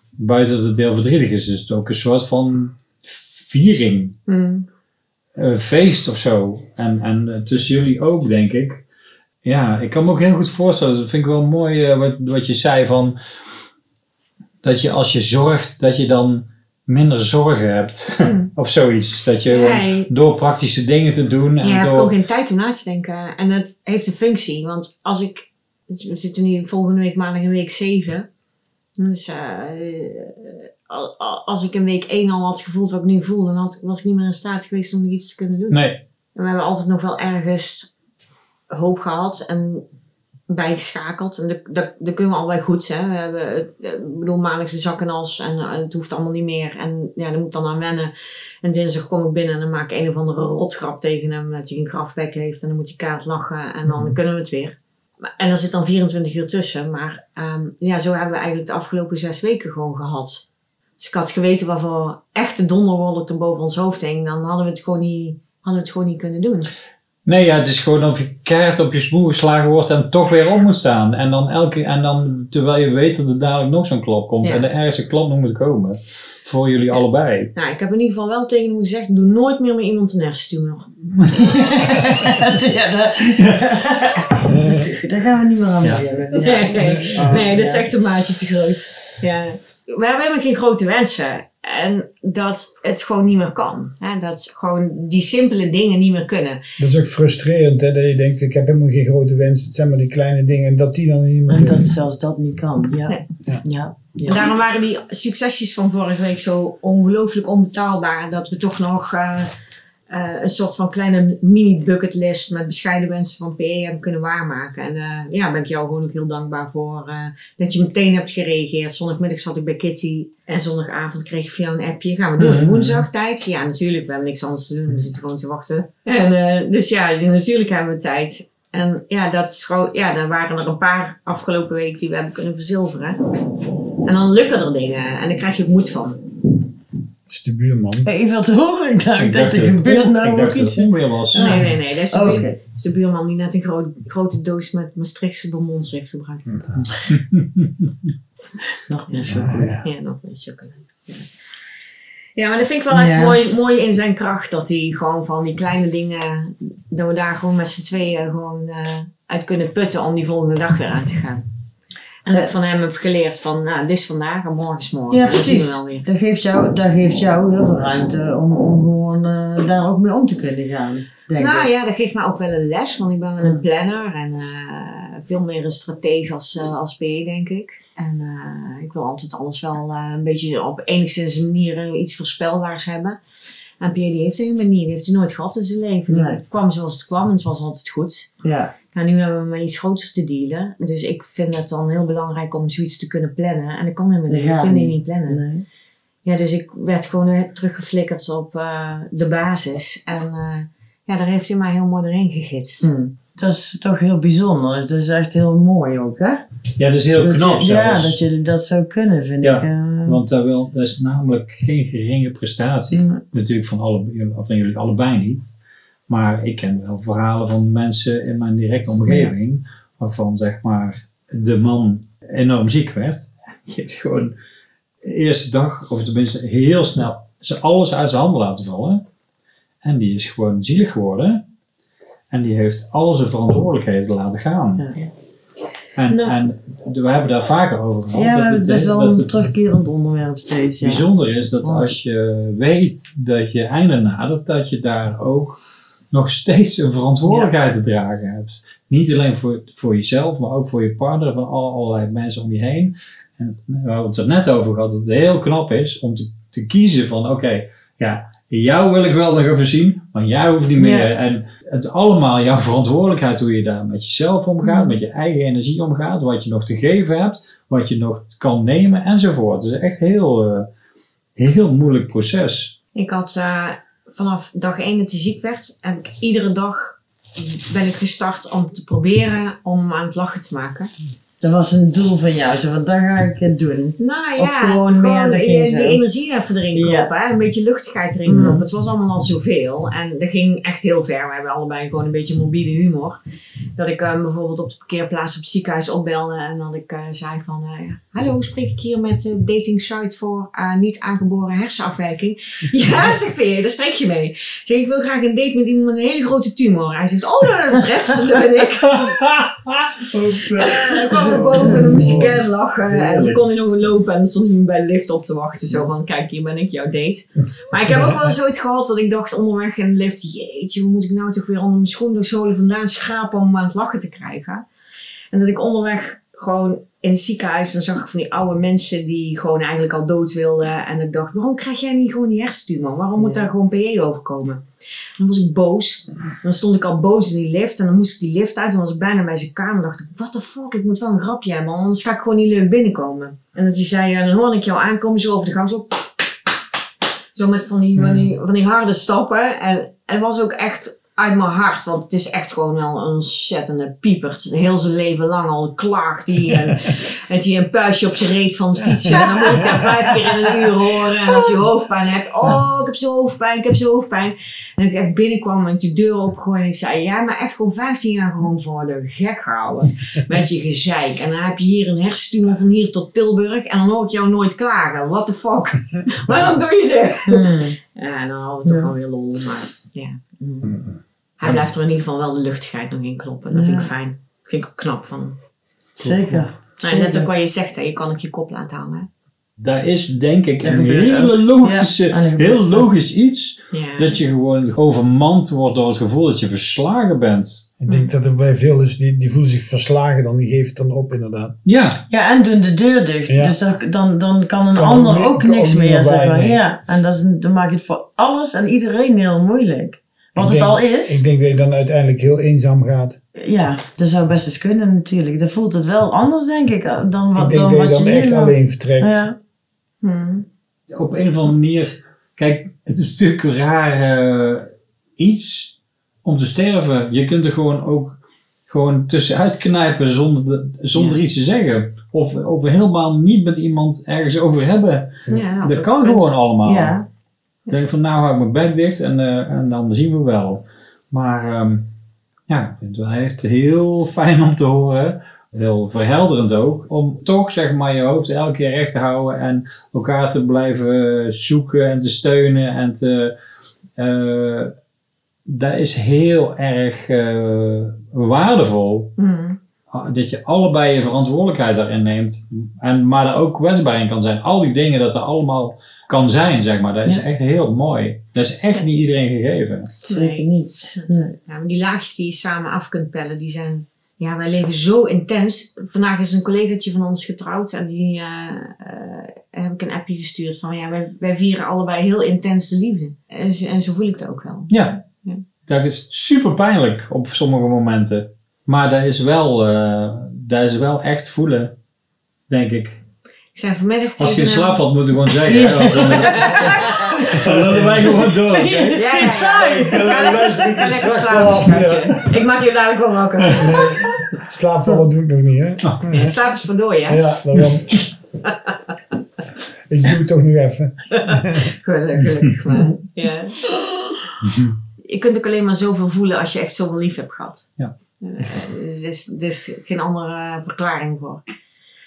buiten dat het heel verdrietig is, is het ook een soort van viering
Hmm.
een eh, feest of zo. En, en eh, tussen jullie ook, denk ik. Ja, ik kan me ook heel goed voorstellen. Dat vind ik wel mooi eh, wat, wat je zei van... Dat je als je zorgt, dat je dan minder zorgen hebt. of zoiets. Dat je gewoon
Hmm. Nee.
door praktische dingen te doen. En
Ja, je hebt ook
door,
geen tijd om na te denken. En het heeft een functie. Want als ik... dus We zitten nu volgende week maandag in week 7. Dus eh, eh, al- al- als ik in week 1 al had gevoeld wat ik nu voel... dan had, was ik niet meer in staat geweest om nog iets te kunnen doen.
nee,
En we hebben altijd nog wel ergens hoop gehad en bijgeschakeld. En dat, dat, dat kunnen we al wel goed. Hè? We hebben, eh, ik bedoel, maandag is de zak en as en eh, het hoeft allemaal niet meer. En ja, daar moet ik dan aan wennen. En dinsdag kom ik binnen en dan maak ik een of andere rotgrap tegen hem. Dat hij een grafbek heeft en dan moet hij kaart lachen en dan kunnen we het weer. Maar- En er zit dan 24 uur tussen. Maar ehm, ja, zo hebben we eigenlijk de afgelopen zes weken gewoon gehad. Dus ik had geweten waarvoor echte donderwolk er boven ons hoofd hing. Dan hadden we het gewoon niet hadden we het gewoon niet kunnen doen.
Nee, ja, het is gewoon of je keihard op je smoel geslagen wordt en toch weer op moet staan. En dan, elke, en dan terwijl je weet dat er dadelijk nog zo'n klap komt.
Ja.
En er ergens een klap nog moet komen. Voor jullie allebei.
Nou, ik heb in ieder geval wel tegen hem gezegd: doe nooit meer met iemand een hersentumor.
ja, dat, daar gaan we niet meer aan
Ja.
beginnen. Ja.
Nee, nee.
Oh,
nee, dat is
ja.
echt een maatje te groot. Ja. We hebben helemaal geen grote wensen. En dat het gewoon niet meer kan. Hè, Dat gewoon die simpele dingen niet meer kunnen.
Dat is ook frustrerend, hè, dat je denkt, ik heb helemaal geen grote wens. Het zijn maar die kleine dingen en dat die dan niet meer
En
doen.
dat zelfs dat niet kan. Ja.
Nee.
Ja. ja.
En daarom waren die succesjes van vorige week zo ongelooflijk onbetaalbaar. Dat we toch nog eh, eh, een soort van kleine mini bucketlist met bescheiden wensen van PE hebben kunnen waarmaken. En eh, ja, daar ben ik jou gewoon ook heel dankbaar voor eh, dat je meteen hebt gereageerd. Zondagmiddag zat ik bij Kitty en zondagavond kreeg ik van jou een appje. Gaan we doen?
Mhm.
Woensdag tijd? Ja, natuurlijk. We hebben niks anders te doen. We zitten gewoon te wachten. En, eh, dus ja, natuurlijk hebben we tijd. En ja, dat is gewoon, ja, daar waren er een paar afgelopen week die we hebben kunnen verzilveren. En dan lukken er dingen en daar krijg je ook moed van.
Dat is de buurman.
Ja, Ik wil het horen. Ik dacht, dat er gebeurt nou ook iets.
niet meer was.
Dus Nee, nee, nee. Dat is de,
Oh,
buur-
oké.
dat is de buurman die net een groot- grote doos met Maastrichtse bonbons heeft gebruikt.
Nog meer zo.
Ja.
Ja, nog een chocolade. Ja. ja, maar dat vind ik wel echt
Ja.
mooi, mooi in zijn kracht. Dat hij gewoon van die kleine dingen, dat we daar gewoon met z'n tweeën gewoon eh, uit kunnen putten om die volgende dag weer aan te gaan. En dat ik van hem heb geleerd van, nou, dit is vandaag en morgen is morgen.
Eh. Ja,
Dat zien we
precies.
wel weer.
Dat geeft jou, dat geeft jou heel veel ruimte om, om gewoon eh, daar ook mee om te kunnen gaan. Denk ik.
Nou ja, dat geeft mij ook wel een les, want ik ben wel een planner en eh, veel meer een stratege als, eh, als PE, denk ik. En eh, ik wil altijd alles wel eh, een beetje op enigszins een manier eh, iets voorspelbaars hebben. En PE die heeft helemaal niet, die heeft hij nooit gehad in zijn leven. Die
Nee.
Het kwam zoals het kwam en het was altijd goed.
Ja.
Nou, nu hebben we maar iets groters te dealen. Dus ik vind het dan heel belangrijk om zoiets te kunnen plannen. En dat kan helemaal
Dat
niet, ik
gaat
kan die
niet.
niet plannen.
Nee.
Ja, dus ik werd gewoon weer teruggeflikkerd op eh, de basis. En eh, ja, daar heeft hij mij heel mooi doorheen gegidst.
Mm.
Hm. Dat is toch heel bijzonder. Dat is echt heel mooi ook, hè?
Ja, dat is heel
Dat je-
knap
Ja,
zelfs.
dat jullie dat zo kunnen, vind
Ja,
ik. eh.
Want dat, wil, dat is namelijk geen geringe prestatie.
Nee.
Natuurlijk van, alle, of van jullie allebei niet. Maar ik ken wel verhalen van mensen in mijn directe omgeving. Waarvan zeg maar de man enorm ziek werd. Die heeft gewoon de eerste dag, of tenminste heel snel, ze alles uit zijn handen laten vallen. En die is gewoon zielig geworden. En die heeft al zijn verantwoordelijkheden laten gaan.
Ja.
En,
Nou.
en we hebben daar vaker over gehad.
ja,
het-
dat is wel
dat
een
het-
terugkerend onderwerp steeds. Ja.
bijzonder is dat
Want-
als je weet dat je einde nadert, dat je daar ook nog steeds een verantwoordelijkheid te dragen hebt. Niet alleen voor, voor jezelf, maar ook voor je partner, van al- allerlei mensen om je heen. En eh, we hadden het er net over gehad, dat het heel knap is om te, te kiezen van, oké, ja, jou wil ik wel nog even zien, maar jij hoeft niet meer.
Ja.
En het allemaal jouw verantwoordelijkheid, hoe je daar met jezelf omgaat,
Mm.
met je eigen energie omgaat, wat je nog te geven hebt, wat je nog kan nemen enzovoort. Het is echt heel, eh, heel moeilijk proces.
Ik had eh, vanaf dag één dat hij ziek werd, heb ik iedere dag ben ik gestart om te proberen om hem aan het lachen te maken.
Dat was een doel van jou, zo, want daar ga ik het doen.
Nou ja,
Of gewoon meer, dat ging
die,
zo.
die energie even erin
Ja.
kloppen. hè, Een beetje luchtigheid erin
Mm.
kloppen. Het was allemaal al zoveel. En dat ging echt heel ver. We hebben allebei gewoon een beetje mobiele humor. Dat ik eh, bijvoorbeeld op de parkeerplaats op het ziekenhuis opbelde. En dat ik eh, zei van... eh, Hallo, spreek ik hier met eh, de dating site voor eh, niet aangeboren hersenafwijking? ja, zegt Peer, daar spreek je mee. Ik Zeg, ik wil graag een date met iemand met een hele grote tumor. Hij zegt, oh, nou, dat treft. Dat ben ik. En dan kwam ik boven en dan moest ik keihard lachen. En toen kon hij nog weer lopen en dan stond hij me bij de lift op te wachten. Zo van, kijk, hier ben ik, jouw date. Maar ik heb ook wel eens ooit gehad dat ik dacht onderweg in de lift... Jeetje, hoe moet ik nou toch weer onder mijn schoen door zolen vandaan schrapen om hem aan het lachen te krijgen? En dat ik onderweg gewoon in het ziekenhuis... Dan zag ik van die oude mensen die gewoon eigenlijk al dood wilden. En ik dacht, waarom krijg jij niet gewoon die hersentumor? Waarom moet
Ja.
daar gewoon PE over komen? En dan was ik boos. En dan stond ik al boos in die lift. En dan moest ik die lift uit. En was ik bijna bij zijn kamer. dacht ik, what the fuck, ik moet wel een grapje hebben. Anders ga ik gewoon niet leuk binnenkomen. En dat hij zei, ja, dan hoor ik jou aankomen. Zo over de gang, zo. Zo met van die, van die, van die harde stappen. En, en het was ook echt uit mijn hart. Want het is echt gewoon wel een ontzettende piepert. Heel zijn leven lang al klaagt hij. En, en die een puistje op zijn reet van het fietsen. En dan moet ik daar vijf keer in een uur horen. En als je hoofdpijn hebt. Oh, ik heb zo hoofdpijn, ik heb zo hoofdpijn. En ik echt binnenkwam en ik de deur opgooide en ik zei, ja, maar echt gewoon 15 jaar gewoon voor de gek gehouden. Met je gezeik. En dan heb je hier een hersentumor van hier tot Tilburg en dan hoor ik jou nooit klagen. What the fuck? Waarom doe je dit?
Hmm.
Ja, en dan hadden we toch
Ja.
wel weer lol, maar ja. Hij blijft er in ieder geval wel de luchtigheid nog in kloppen. Dat vind ik
Ja.
fijn. Dat vind ik ook knap van hem.
Zeker.
Maar net
Zeker.
ook wat je zegt, hè, je kan op je kop laten hangen.
Daar is denk ik
Dat
een
gebeurt
hele
ook.
logische,
Ja, en dat Mm. gebeurt
heel
ook.
logisch iets.
Ja.
Dat je gewoon overmand wordt door het gevoel dat je verslagen bent.
Ik denk dat er bij veel is, die, die voelen zich verslagen dan, die geven het dan op inderdaad.
Ja,
Ja, en doen de deur dicht.
Ja.
Dus dan, dan, dan kan een
Kan
ander
ook-
ook
kan
niks
ook niet
meer,
meer
zeg
bij,
maar.
nee.
Ja, en dat is, dan maakt het voor alles en iedereen heel moeilijk. Wat
Ik
het
denk-
al is.
Ik denk dat je dan uiteindelijk heel eenzaam gaat.
Ja, dat zou best eens kunnen natuurlijk. Dan voelt het wel anders, denk ik, dan
ik
wat,
denk
dan
dat
wat
je dan
je
echt
nu wel-
alleen vertrekt.
Ja.
Mm.
op een of andere manier. Kijk, het is natuurlijk een raar eh, iets om te sterven. Je kunt er gewoon ook gewoon tussenuit knijpen zonder, de- zonder iets te zeggen. Of, of helemaal niet met iemand ergens over hebben.
Ja, nou,
dat kan gewoon allemaal.
ja.
Ik denk van nou hou ik mijn bek dicht en, eh, en dan zien we wel. Maar ehm, ja, ik vind het wel echt heel fijn om te horen. Heel verhelderend ook. Om toch zeg maar je hoofd elke keer recht te houden. En elkaar te blijven zoeken en te steunen. En te, eh, dat is heel erg eh, waardevol.
Mm.
Ah, Dat je allebei je verantwoordelijkheid daarin neemt. En, maar er ook kwetsbaar in kan zijn. Al die dingen dat er allemaal kan zijn, zeg maar. Dat is
Ja.
echt heel mooi. Dat is echt niet iedereen gegeven.
Zeker niet. Nee.
Ja, maar die laagjes die je samen af kunt pellen, die zijn... Ja, wij leven zo intens. Vandaag is een collegaatje van ons getrouwd en die eh, eh, heb ik een appje gestuurd van... Ja, wij, wij vieren allebei heel intense liefde. En, zo- en zo voel ik dat ook wel.
Ja.
Ja.
Dat is super pijnlijk op sommige momenten. Maar dat is wel, eh, dat is wel echt voelen, denk ik.
Ik zei vanmiddag tegen
Als je in
hem-
slaap valt, moet ik gewoon zeggen. hè, want dan, dan lopen wij gewoon door. oké?
Ja,
Vind je het saai?
Ja, ja, ja.
Ja,
Ga lekker
straks
slapen,
wel.
schatje. Ik maak je dadelijk wel wakker.
Slaapvallen doe ik nog niet, hè?
Ah.
Ja, slaap is vandoor, ja.
Ja, daarom. ik doe het toch nu even.
Gelukkig, gelukkig maar. Ja. Je kunt ook alleen maar zoveel voelen als je echt zoveel lief hebt gehad.
Ja.
Eh, Er is, er is geen andere eh, verklaring voor.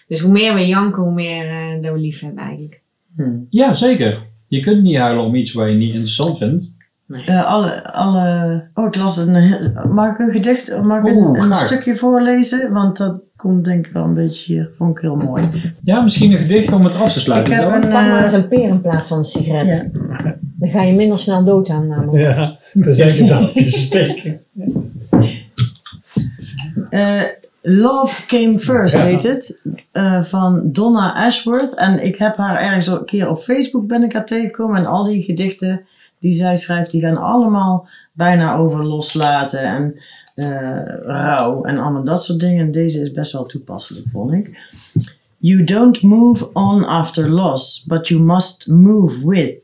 Dus hoe meer we janken, hoe meer eh, dat we lief hebben eigenlijk.
Ja, zeker. Je kunt niet huilen om iets waar je niet interessant vindt.
Eh, alle, alle... Oh, ik las een... heel- Mag ik een gedicht, of mag ik een,
Oeh,
een
graag.
stukje voorlezen? Want dat komt denk ik wel een beetje hier. Vond ik heel mooi.
Ja, misschien een gedicht om het af te sluiten.
Ik heb
toch?
een...
Pak maar
eh,
eens een peer in plaats van een sigaret. Dan ga je minder snel dood aan namelijk.
Ja, dat zijn gedachten steken.
Eh, Love Came First
Ja.
heet het. eh, van Donna Ashworth. En ik heb haar ergens een keer op Facebook ben ik haar tegengekomen. En al die gedichten die zij schrijft, die gaan allemaal bijna over loslaten en eh, rouw en allemaal dat soort dingen. En deze is best wel toepasselijk, vond ik. You don't move on after loss, but you must move with.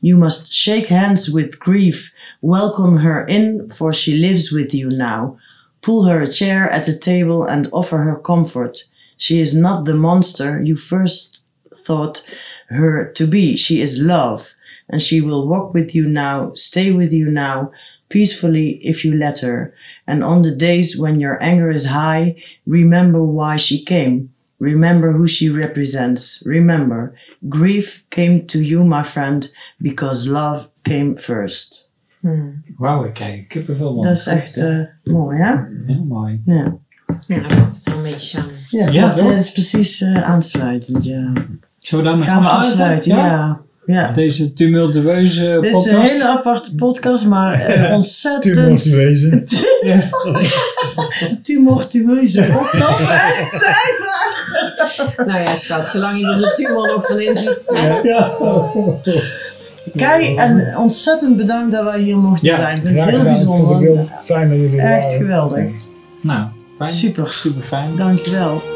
You must shake hands with grief. Welcome her in, for she lives with you now. Pull her a chair at the table and offer her comfort. She is not the monster you first thought her to be. She is love, and she will walk with you now, stay with you now, peacefully if you let her. And on the days when your anger is high, remember why she came. Remember who she represents. Remember, grief came to you, my friend, because love came first.
Hmm.
Wauw, ik kijk kippenvel. man.
Dat is echt eh, mooi, hè?
heel mooi.
Ja.
Ja, dat komt wel een beetje samen.
Ja,
Ja,
dat
toch?
eh, is precies eh, aansluitend, ja.
Zullen we daarmee
Gaan we afsluiten, ja. ja.
Deze tumultueuze
Dit is
podcast.
een hele aparte podcast, maar eh,
Tuur moest
ontzettend
wezen.
tumultueuze podcast. Echt, echt waar.
Nou ja, schat, zolang je er de tumor nog van in ziet. Ja.
Kijk, en ontzettend bedankt dat wij hier mochten
Ja,
zijn. Ik vind
Ja,
het heel
gedaan. Ik vond het
bijzonder.
heel fijn dat jullie er
Echt
waren.
geweldig.
Nou, fijn.
Super.
Super fijn.
Dankjewel.